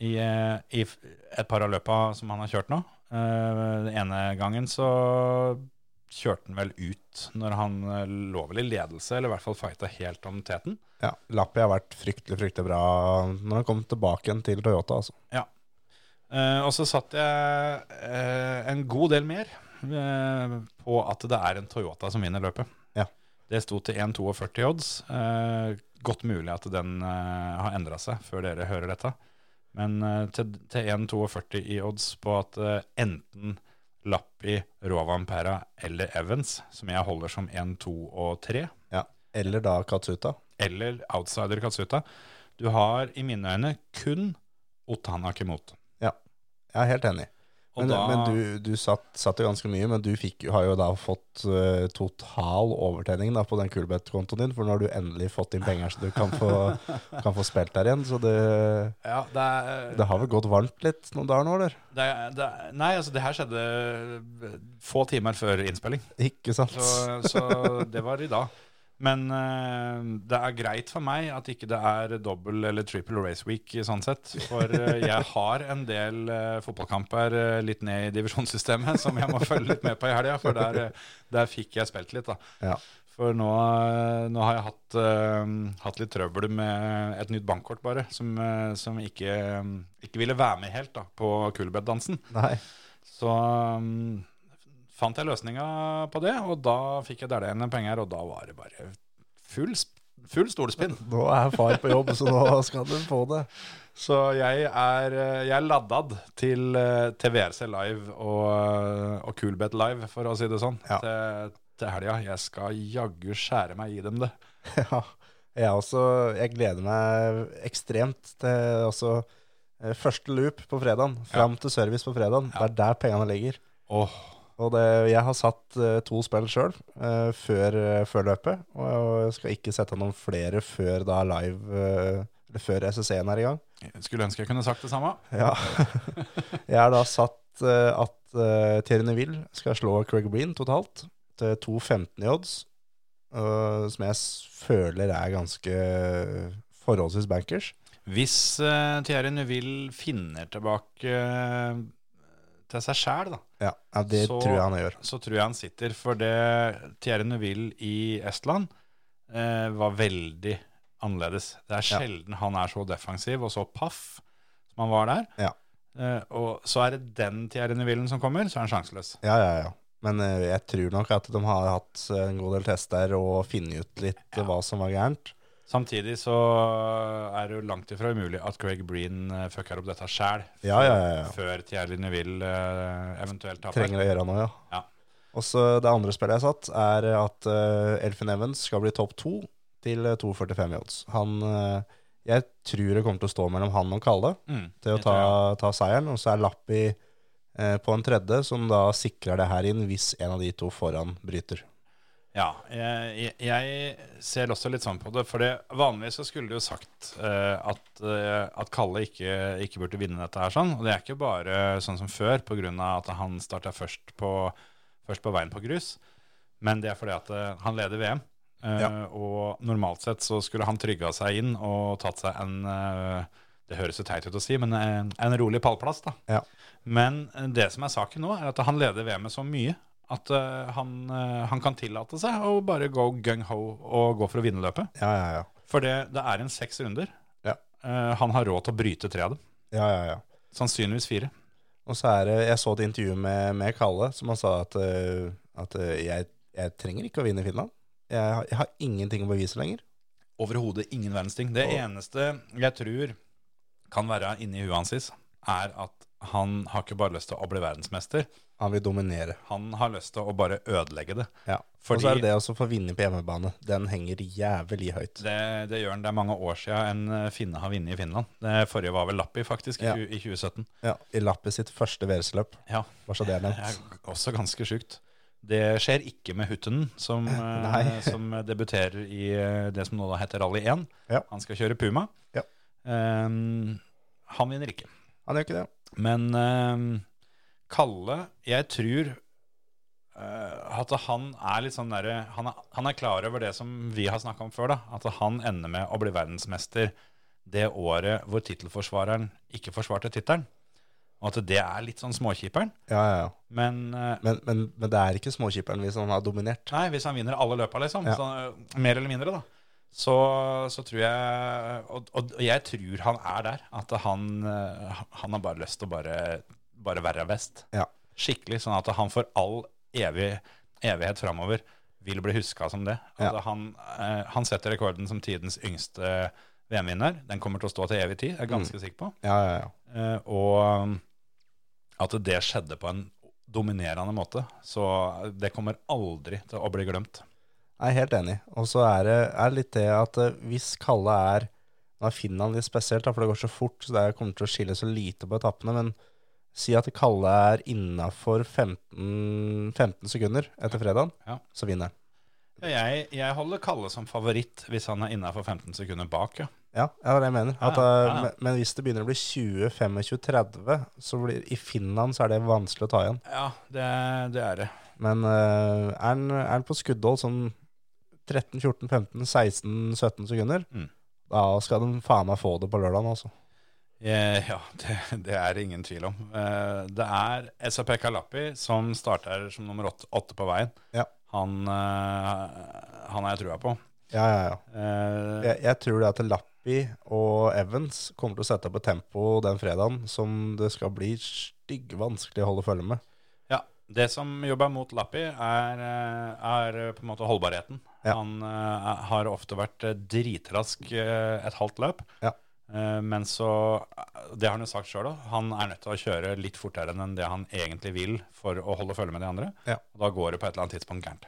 Speaker 2: I, eh, I f- et par av løpa som han har kjørt nå. Eh, den ene gangen så kjørte han vel ut når han eh, lå vel i ledelse, eller i hvert fall fighta helt om teten.
Speaker 1: Ja, Lappi har vært fryktelig, fryktelig bra når han kom tilbake igjen til Toyota, altså.
Speaker 2: Eh, og så satt jeg eh, en god del mer eh, på at det er en Toyota som vinner løpet.
Speaker 1: Ja.
Speaker 2: Det sto til 1,42 odds. Eh, godt mulig at den eh, har endra seg før dere hører dette. Men eh, til, til 1,42 i odds på at eh, enten Lappi, Rovampera eller Evans, som jeg holder som 1, 2 og 3,
Speaker 1: Ja. Eller da Katsuta.
Speaker 2: eller outsider Katsuta Du har i mine øyne kun Otanak imot.
Speaker 1: Jeg er helt enig.
Speaker 2: Og
Speaker 1: Men,
Speaker 2: da-
Speaker 1: men du, du satt, satt jo ganske mye, men du fikk, jo- har jo da fått eh, total overtenning da, på den Kulbeth-kontoen din, for nå har du endelig fått inn penger så du kan få, kan få spilt der igjen. Så det,
Speaker 2: Ja, det er,
Speaker 1: det har vel gått varmt litt noen dager nå, eller?
Speaker 2: Det, det, nei, altså det her skjedde få timer før innspilling,
Speaker 1: Ikke sant?
Speaker 2: så, så det var i dag. Men eh, det er greit for meg at ikke det er dobbel eller triple race week i sånn sett. For eh, jeg har en del eh, fotballkamper eh, litt ned i divisjonssystemet som jeg må følge litt med på i helga, for der, eh, der fikk jeg spilt litt, da.
Speaker 1: Ja.
Speaker 2: For nå, eh, nå har jeg hatt, eh, hatt litt trøbbel med et nytt bankkort, bare, som, eh, som ikke, ikke ville være med helt da, på kulbed-dansen.
Speaker 1: Nei.
Speaker 2: Så um, fant jeg løsninga på det, og da fikk jeg dælende penger, og da var det bare full, sp- full stolspinn.
Speaker 1: Nå er far på jobb, så nå skal du få det.
Speaker 2: Så jeg er, eh, jeg er laddad til, eh, til VRC Live og, eh, og Coolbet Live, for å si det sånn,
Speaker 1: Ja.
Speaker 2: til, til helga. Jeg skal jaggu skjære meg i dem, det.
Speaker 1: Ja, jeg også. Jeg gleder meg ekstremt til også eh, første loop på fredagen, fram til service på fredagen. Det er der pengene ligger.
Speaker 2: Åh,
Speaker 1: Og det, jeg har satt eh, to spill sjøl før, eh, før løpet, og jeg skal ikke sette noen flere før da live eh, eller før SSE-en er i gang.
Speaker 2: jeg skulle ønske jeg kunne sagt det samme.
Speaker 1: Ja. Jeg har da satt eh, at eh, Thierry Neville skal slå Craig Breen totalt til 2,15 i odds, eh, som jeg s- føler er ganske eh, forholdsvis bankers.
Speaker 2: Hvis uh, Thierry Neville finner tilbake eh, til seg sjæl, da,
Speaker 1: Ja, ja det
Speaker 2: Så-
Speaker 1: tror jeg han gjør.
Speaker 2: så tror jeg han sitter. For det Thierry Neville i Estland eh, var veldig annerledes. Det er
Speaker 1: Ja.
Speaker 2: sjelden han er så defensiv og så paff som han var der.
Speaker 1: Ja.
Speaker 2: Eh, og så er det den Thierry Neville som kommer, så er han sjanseløs.
Speaker 1: Ja, ja, ja. Men eh, jeg tror nok at de har hatt eh, en god del tester og funnet ut litt eh, hva som var gærent.
Speaker 2: Samtidig så er det jo langt ifra umulig at Greg Breen eh, fucker opp dette sjæl
Speaker 1: Ja, ja, ja. ja.
Speaker 2: før Thierry Neville eh, eventuelt taper.
Speaker 1: Trenger å gjøre noe, ja.
Speaker 2: Ja.
Speaker 1: Og så det andre spillet jeg satt, er at eh, Elfin Evans skal bli topp to til eh, 2,45 i odds. Han eh, Jeg tror det kommer til å stå mellom han og Kalle
Speaker 2: Mm,
Speaker 1: til å
Speaker 2: det
Speaker 1: ta,
Speaker 2: tror jeg.
Speaker 1: ta seieren, og så er Lappi eh, på en tredje, som da sikrer det her inn hvis en av de to foran bryter.
Speaker 2: Ja, jeg, jeg- jeg ser også litt sånn på det. For det, vanligvis så skulle du jo sagt eh, at, eh, at Kalle ikke, ikke burde vinne dette her sånn. Og det er ikke bare sånn som før pga. at han starta først på, først på veien på grus. Men det er fordi at eh, han leder VM. eh,
Speaker 1: Ja.
Speaker 2: Og normalt sett så skulle han trygga seg inn og tatt seg en eh, Det høres jo teit ut å si, men eh, en rolig pallplass, da.
Speaker 1: Ja.
Speaker 2: Men eh, det som er saken nå, er at han leder VM-et så mye at eh, han, eh, han kan tillate seg å bare gå gung-ho og gå for å vinne løpet.
Speaker 1: Ja, ja, ja.
Speaker 2: For det, det er en seks runder.
Speaker 1: Ja.
Speaker 2: Eh, han har råd til å bryte tre av dem.
Speaker 1: ja, ja, ja.
Speaker 2: Sannsynligvis fire.
Speaker 1: Og så er det, jeg så et intervju med, med Kalle, som han sa at, eh, at eh, jeg, jeg trenger ikke å vinne Finland. Jeg, har- jeg har ingenting å bevise lenger.
Speaker 2: Overhodet ingen verdens ting. Det
Speaker 1: Og-
Speaker 2: eneste jeg tror kan være inni huet hans, is, er at han har ikke bare lyst til å bli verdensmester,
Speaker 1: Han vil dominere.
Speaker 2: han har lyst til å bare ødelegge det.
Speaker 1: Ja. Og
Speaker 2: Fordi-
Speaker 1: så er det det også å få vinne på hjemmebane. Den henger jævlig høyt.
Speaker 2: Det, det gjør han. Det er mange år siden en eh, finne har vunnet i Finland. Det forrige var vel Lappi, faktisk, i
Speaker 1: Ja.
Speaker 2: tju- i 2017.
Speaker 1: Ja, I Lappi sitt første VRC-løp,
Speaker 2: Ja,
Speaker 1: bare så det er
Speaker 2: Det
Speaker 1: nevnt.
Speaker 2: er også ganske sjukt. Det skjer ikke med Huttenen, som, eh,
Speaker 1: Nei.
Speaker 2: som debuterer i eh, det som nå da heter Rally 1.
Speaker 1: Ja.
Speaker 2: Han skal kjøre Puma.
Speaker 1: Ja.
Speaker 2: Ehm, han vinner ikke.
Speaker 1: Han gjør ikke det.
Speaker 2: Men ehm, Kalle, jeg tror eh, at han er litt sånn derre han, er- han er klar over det som vi har snakka om før, da. At han ender med å bli verdensmester det året hvor tittelforsvareren ikke forsvarte tittelen. Og at det er litt sånn småkjiperen.
Speaker 1: Ja, ja, ja.
Speaker 2: Men eh,
Speaker 1: Men, men, men det er ikke småkiperen hvis han har dominert.
Speaker 2: Nei, hvis han vinner alle løpa, liksom.
Speaker 1: Ja.
Speaker 2: Så, mer eller mindre, da. Så, så tror jeg og, og og jeg tror han er der. At han, eh, han har bare lyst til å bare, bare være best.
Speaker 1: Ja.
Speaker 2: Skikkelig. Sånn at han for all evig, evighet framover vil bli huska som det. At
Speaker 1: Ja.
Speaker 2: han, eh, han setter rekorden som tidens yngste VM-vinner. Den kommer til å stå til evig tid, jeg er
Speaker 1: Mm.
Speaker 2: ganske sikker på.
Speaker 1: Ja, ja, ja.
Speaker 2: Eh, og um, at det skjedde på en dominerende måte. Så det kommer aldri til å bli glemt.
Speaker 1: Jeg er helt enig. Og så er det er litt det at eh, hvis Kalle er Nå er Finland litt spesielt, da, for det går så fort, så det er- kommer til å skille så lite på etappene. Men si at Kalle er innafor 15, 15 sekunder etter fredagen,
Speaker 2: Ja.
Speaker 1: så vinner han.
Speaker 2: Jeg, jeg holder Kalle som favoritt hvis han er innafor 15 sekunder bak. Ja.
Speaker 1: Ja, det er det jeg mener. At,
Speaker 2: Ja, ja,
Speaker 1: eh,
Speaker 2: ja.
Speaker 1: men- Men hvis det begynner å bli 20, 25, 30, så blir, i Finland så er det vanskelig å ta igjen.
Speaker 2: Ja, det, det er det.
Speaker 1: Men eh, er han er han på skuddhold sånn 13, 14, 15, 16, 17 sekunder,
Speaker 2: Mm.
Speaker 1: da skal de faen meg få det på lørdagen, altså.
Speaker 2: Eh, Ja, det, det er det ingen tvil om. Eh, Det er SAP Kalappi som starter som nummer åtte, åtte på veien.
Speaker 1: Ja.
Speaker 2: Han, eh, han har jeg trua på.
Speaker 1: Ja, ja, ja.
Speaker 2: Eh,
Speaker 1: Jeg, jeg tror det at Lappi og Evans kommer til å sette opp et tempo den fredagen som det skal bli stygg vanskelig å holde følge med.
Speaker 2: Ja, det som jobber mot Lappi er, eh, er på en måte holdbarheten.
Speaker 1: Ja.
Speaker 2: Han eh, har ofte vært eh, dritrask eh, et halvt løp.
Speaker 1: Ja.
Speaker 2: Eh, Men så, det har han jo sagt sjøl òg, han er nødt til å kjøre litt fortere enn det han egentlig vil for å holde følge med de andre.
Speaker 1: Ja.
Speaker 2: Og da går det på et eller annet tidspunkt gærent.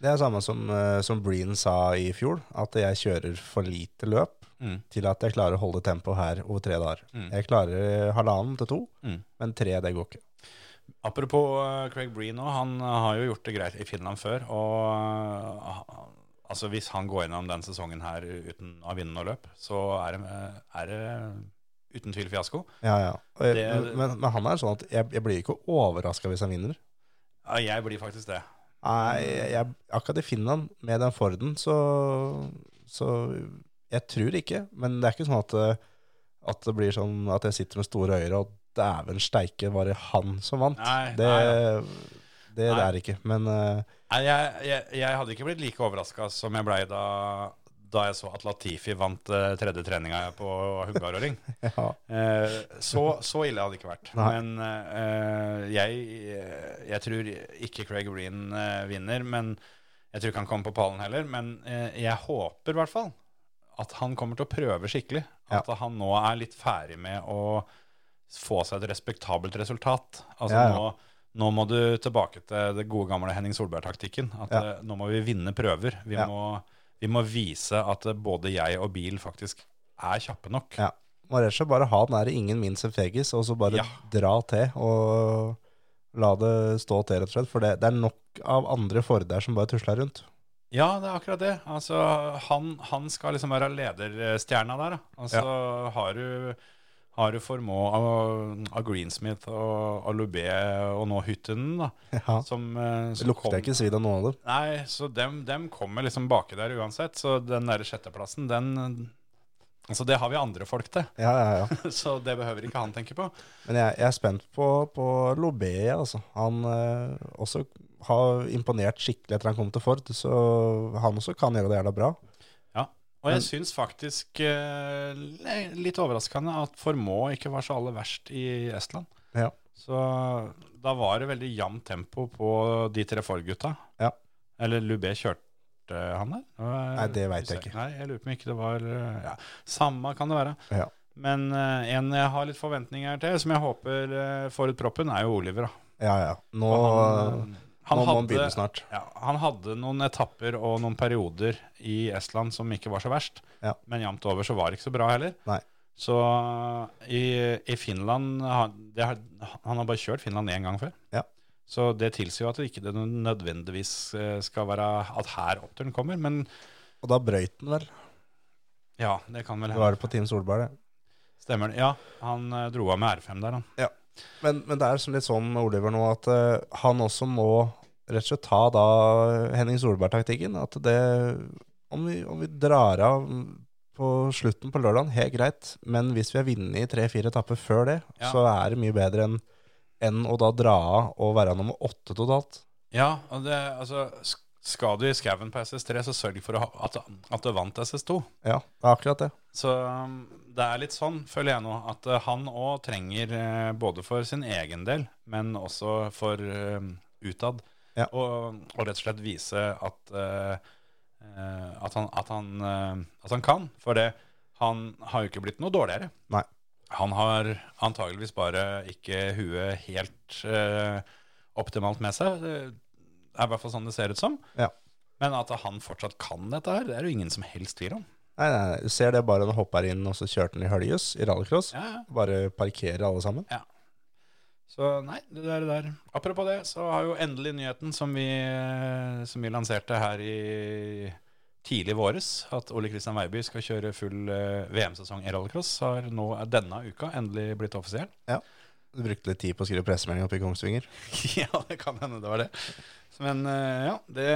Speaker 1: Det er samme som, eh, som Breen sa i fjor, at jeg kjører for lite løp
Speaker 2: Mm.
Speaker 1: til at jeg klarer å holde tempo her over tre dager.
Speaker 2: Mm.
Speaker 1: Jeg klarer halvannen til to,
Speaker 2: Mm.
Speaker 1: men tre det går ikke.
Speaker 2: Apropos eh, Craig Breen òg, han eh, har jo gjort det greit i Finland før. Og eh, altså hvis han går gjennom den sesongen her uten å vinne noe løp, så er det, eh, er det uten tvil fiasko.
Speaker 1: Ja, ja. Og jeg,
Speaker 2: Det-
Speaker 1: men, men han er sånn at jeg, jeg blir ikke overraska hvis han vinner.
Speaker 2: Ja, jeg blir faktisk det.
Speaker 1: Nei, jeg, jeg, akkurat i Finland, med den Forden, så, så Jeg tror ikke, men det er ikke sånn at, eh, at det blir sånn at jeg sitter med store øyne og dæven steike, var det han som vant?
Speaker 2: Nei,
Speaker 1: det
Speaker 2: nei,
Speaker 1: det, det
Speaker 2: Nei.
Speaker 1: er det ikke. Men eh,
Speaker 2: Nei, jeg, jeg, jeg hadde ikke blitt like overraska som jeg blei da, da jeg så at Latifi vant eh, tredje treninga på Hungaroring.
Speaker 1: ja.
Speaker 2: Eh, så, så ille hadde det ikke vært.
Speaker 1: Nei.
Speaker 2: Men eh, jeg, jeg tror ikke Craig Green eh, vinner. Men jeg tror ikke han kommer på pallen heller. Men eh, jeg håper i hvert fall at han kommer til å prøve skikkelig. At han nå er litt ferdig med å få seg et respektabelt resultat. Altså
Speaker 1: Ja, ja.
Speaker 2: Nå, nå må du tilbake til det gode gamle Henning Solberg-taktikken. At
Speaker 1: Ja.
Speaker 2: eh, nå må vi vinne prøver. Vi,
Speaker 1: Ja.
Speaker 2: må, vi må vise at eh, både jeg og bil faktisk er kjappe nok.
Speaker 1: ja. Må rett og slett bare ha den der ingen minst en fegis, og så bare
Speaker 2: Ja.
Speaker 1: dra til og la det stå til, rett og slett. For det, det er nok av andre Forder som bare tusler rundt.
Speaker 2: Ja, det er akkurat det. Altså, han, han skal liksom være lederstjerna der. da. Altså, har, du, har du Formå av, av Greensmith og av Loubet og nå Hyttenen, da
Speaker 1: Ja.
Speaker 2: som, eh,
Speaker 1: Det
Speaker 2: som
Speaker 1: lukter ikke svidd av noen av dem.
Speaker 2: Nei, så dem, dem kommer liksom baki der uansett. Så den der sjetteplassen, den Altså, det har vi andre folk til,
Speaker 1: Ja, ja, ja.
Speaker 2: så det behøver ikke han tenke på.
Speaker 1: Men jeg, jeg er spent på, på Lobé, altså. Han eh, også har imponert skikkelig etter han kom til Ford, så han også kan gjøre det jævla bra.
Speaker 2: Ja, og jeg syns faktisk, eh, le- litt overraskende, at Formå ikke var så aller verst i Estland.
Speaker 1: Ja.
Speaker 2: Så da var det veldig jevnt tempo på de tre Ford-gutta.
Speaker 1: Ja.
Speaker 2: Eller Lubé kjørte han der?
Speaker 1: Nei, det vet jeg ikke.
Speaker 2: Nei, jeg lurer på om ikke det var eh, ja. Samme kan det være.
Speaker 1: Ja.
Speaker 2: Men eh, en jeg har litt forventninger til, som jeg håper eh, får ut proppen, er jo Oliver. Da.
Speaker 1: Ja, ja. Nå,
Speaker 2: Og han, eh,
Speaker 1: nå
Speaker 2: han
Speaker 1: må han
Speaker 2: hadde-
Speaker 1: begynne snart.
Speaker 2: ja, han hadde noen etapper og noen perioder i Estland som ikke var så verst.
Speaker 1: Ja.
Speaker 2: Men jevnt over så var det ikke så bra heller.
Speaker 1: Nei.
Speaker 2: Så i, i Finland han- det har, Han har bare kjørt Finland én gang før.
Speaker 1: Ja.
Speaker 2: Så det tilsier jo at det ikke det nødvendigvis eh, skal være at her oppturen kommer. Men
Speaker 1: Og da brøyt han vel.
Speaker 2: ja, det kan vel
Speaker 1: Det var det på Team Solberg, det.
Speaker 2: Stemmer det. Ja, han eh, dro av med R5 der, han.
Speaker 1: Men, men det er som litt sånn med Oliver nå at eh, han også må rett og slett ta da Henning Solberg-taktikken. At det om vi, om vi drar av på slutten på lørdagen, helt greit. Men hvis vi har vunnet i tre-fire etapper før det,
Speaker 2: Ja.
Speaker 1: så er det mye bedre enn enn å da dra av og være nummer åtte totalt.
Speaker 2: Ja, og det, altså sk- Skal du i skauen på SS3, så sørg for å ha, at, at du vant SS2.
Speaker 1: Ja, det er akkurat det.
Speaker 2: Så um, det er litt sånn, føler jeg nå, at eh, han òg trenger, eh, både for sin egen del, men også for eh, utad,
Speaker 1: Ja.
Speaker 2: og, og rett og slett vise at, eh, eh, at, han, at, han, eh, at han kan. For det, han har jo ikke blitt noe dårligere.
Speaker 1: Nei.
Speaker 2: Han har antageligvis bare ikke huet helt eh, optimalt med seg. Det er i hvert fall sånn det ser ut som.
Speaker 1: Ja.
Speaker 2: Men at han fortsatt kan dette her, det er jo ingen som helst tvil om.
Speaker 1: Nei, nei, nei. Du ser det bare når han hopper inn, og så kjørte han i høljes i rallycross.
Speaker 2: Ja, ja.
Speaker 1: Bare parkerer alle sammen.
Speaker 2: Så nei, det der, det der. Apropos det, så har jo endelig nyheten som vi, som vi lanserte her i tidlig våres, at Ole Kristian Weiby skal kjøre full eh, VM-sesong i rallycross, har nå eh, denne uka endelig blitt offisiell.
Speaker 1: Du brukte litt tid på å skrive pressemelding oppe i Kongsvinger.
Speaker 2: ja, det kan hende det var det. Men eh, ja, det,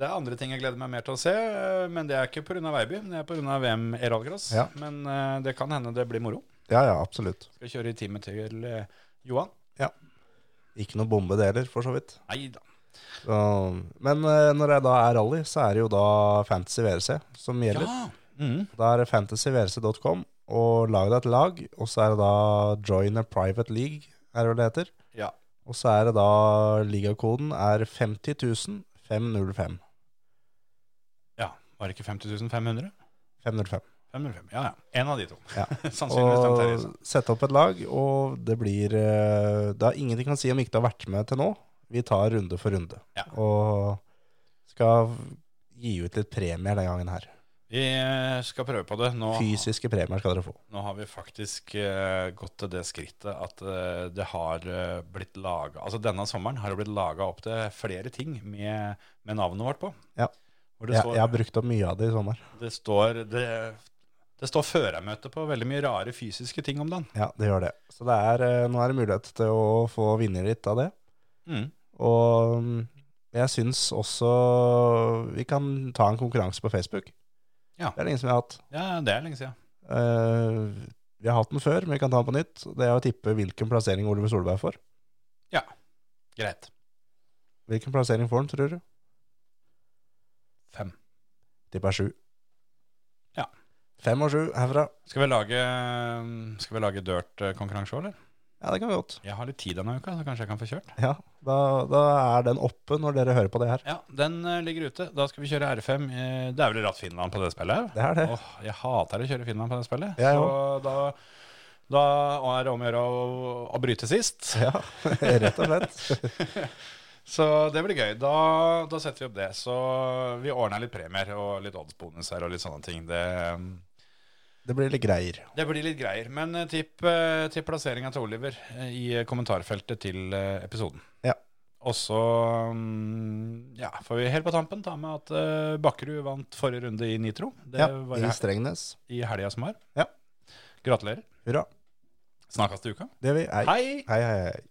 Speaker 2: det er andre ting jeg gleder meg mer til å se, eh, men det er ikke pga. Weiby, det er pga. VM i rallycross.
Speaker 1: Ja.
Speaker 2: Men eh, det kan hende det blir moro.
Speaker 1: Ja, ja, absolutt.
Speaker 2: Skal kjøre i teamet til eh, Johan.
Speaker 1: Ikke noe bombe det heller, for så vidt.
Speaker 2: Nei da.
Speaker 1: Så, men eh, når det da er rally, så er det jo da Fantasy VRC som gjelder.
Speaker 2: Ja. Mm.
Speaker 1: Da er det fantasyvrc.com, og lag deg et lag. Og så er det da join a private league, er det hva det heter.
Speaker 2: Ja.
Speaker 1: Og så er det da ligakoden er 50 505.
Speaker 2: Ja, var det ikke 50 500?
Speaker 1: 505.
Speaker 2: 505, ja ja. En av de to.
Speaker 1: Ja.
Speaker 2: Sannsynligvis den
Speaker 1: Og
Speaker 2: Terje. sa.
Speaker 1: sette opp et lag, og det blir eh, Det er ingenting kan si om ikke du har vært med til nå. Vi tar runde for runde.
Speaker 2: Ja.
Speaker 1: Og skal gi ut litt premier den gangen her.
Speaker 2: Vi eh, skal prøve på det. Nå,
Speaker 1: Fysiske premier skal dere få.
Speaker 2: nå har vi faktisk eh, gått til det skrittet at eh, det har eh, blitt laga Altså denne sommeren har det blitt laga opp til flere ting med, med navnet vårt på.
Speaker 1: Ja.
Speaker 2: Hvor det
Speaker 1: Jeg,
Speaker 2: står,
Speaker 1: jeg har brukt opp mye av det i sommer.
Speaker 2: det står det, Det står førermøte på veldig mye rare fysiske ting om dagen.
Speaker 1: Ja, det gjør det. Så det er, eh, nå er det mulighet til å få vinne litt av det.
Speaker 2: Mm.
Speaker 1: Og mm, jeg syns også vi kan ta en konkurranse på Facebook.
Speaker 2: Ja.
Speaker 1: Det er det ingen som har hatt.
Speaker 2: Ja, det er lenge siden.
Speaker 1: Eh, vi har hatt den før, men vi kan ta den på nytt. Det er å tippe hvilken plassering Oliver Solberg får.
Speaker 2: Greit.
Speaker 1: Hvilken plassering får han, tror du?
Speaker 2: Fem.
Speaker 1: Tipper sju.
Speaker 2: Ja.
Speaker 1: Fem og sju herfra.
Speaker 2: Skal vi lage, eh, skal vi lage dirt-konkurranse òg, eller?
Speaker 1: Ja, det kan vi godt.
Speaker 2: Jeg har litt tid denne uka, så kanskje jeg kan få kjørt.
Speaker 1: Ja, da, da er den oppe når dere hører på det her.
Speaker 2: Ja, den eh, ligger ute. Da skal vi kjøre R5. eh, Det er vel ratt Finland på det spillet?
Speaker 1: Det er det.
Speaker 2: Åh, jeg hater å kjøre Finland på det spillet.
Speaker 1: Jeg
Speaker 2: så da, da er det om å gjøre å, å bryte sist.
Speaker 1: Ja, rett og slett.
Speaker 2: Så det blir gøy. Da, da setter vi opp det. Så vi ordner litt premier og litt oddsbonuser og litt sånne ting. Det,
Speaker 1: Det blir litt greier.
Speaker 2: det blir litt greier. Men eh, tipp, eh, tipp plasseringa til Oliver eh, i kommentarfeltet til eh, episoden.
Speaker 1: Ja.
Speaker 2: Og så mm, ja, får vi helt på tampen ta med at eh, Bakkerud vant forrige runde i Nitro. Det
Speaker 1: Ja,
Speaker 2: var
Speaker 1: I
Speaker 2: i,
Speaker 1: Strengnes.
Speaker 2: i helga som var.
Speaker 1: Ja.
Speaker 2: Gratulerer.
Speaker 1: Hurra.
Speaker 2: Snakkes til uka.
Speaker 1: Det vi er.
Speaker 2: Hei!
Speaker 1: Hei, hei, hei.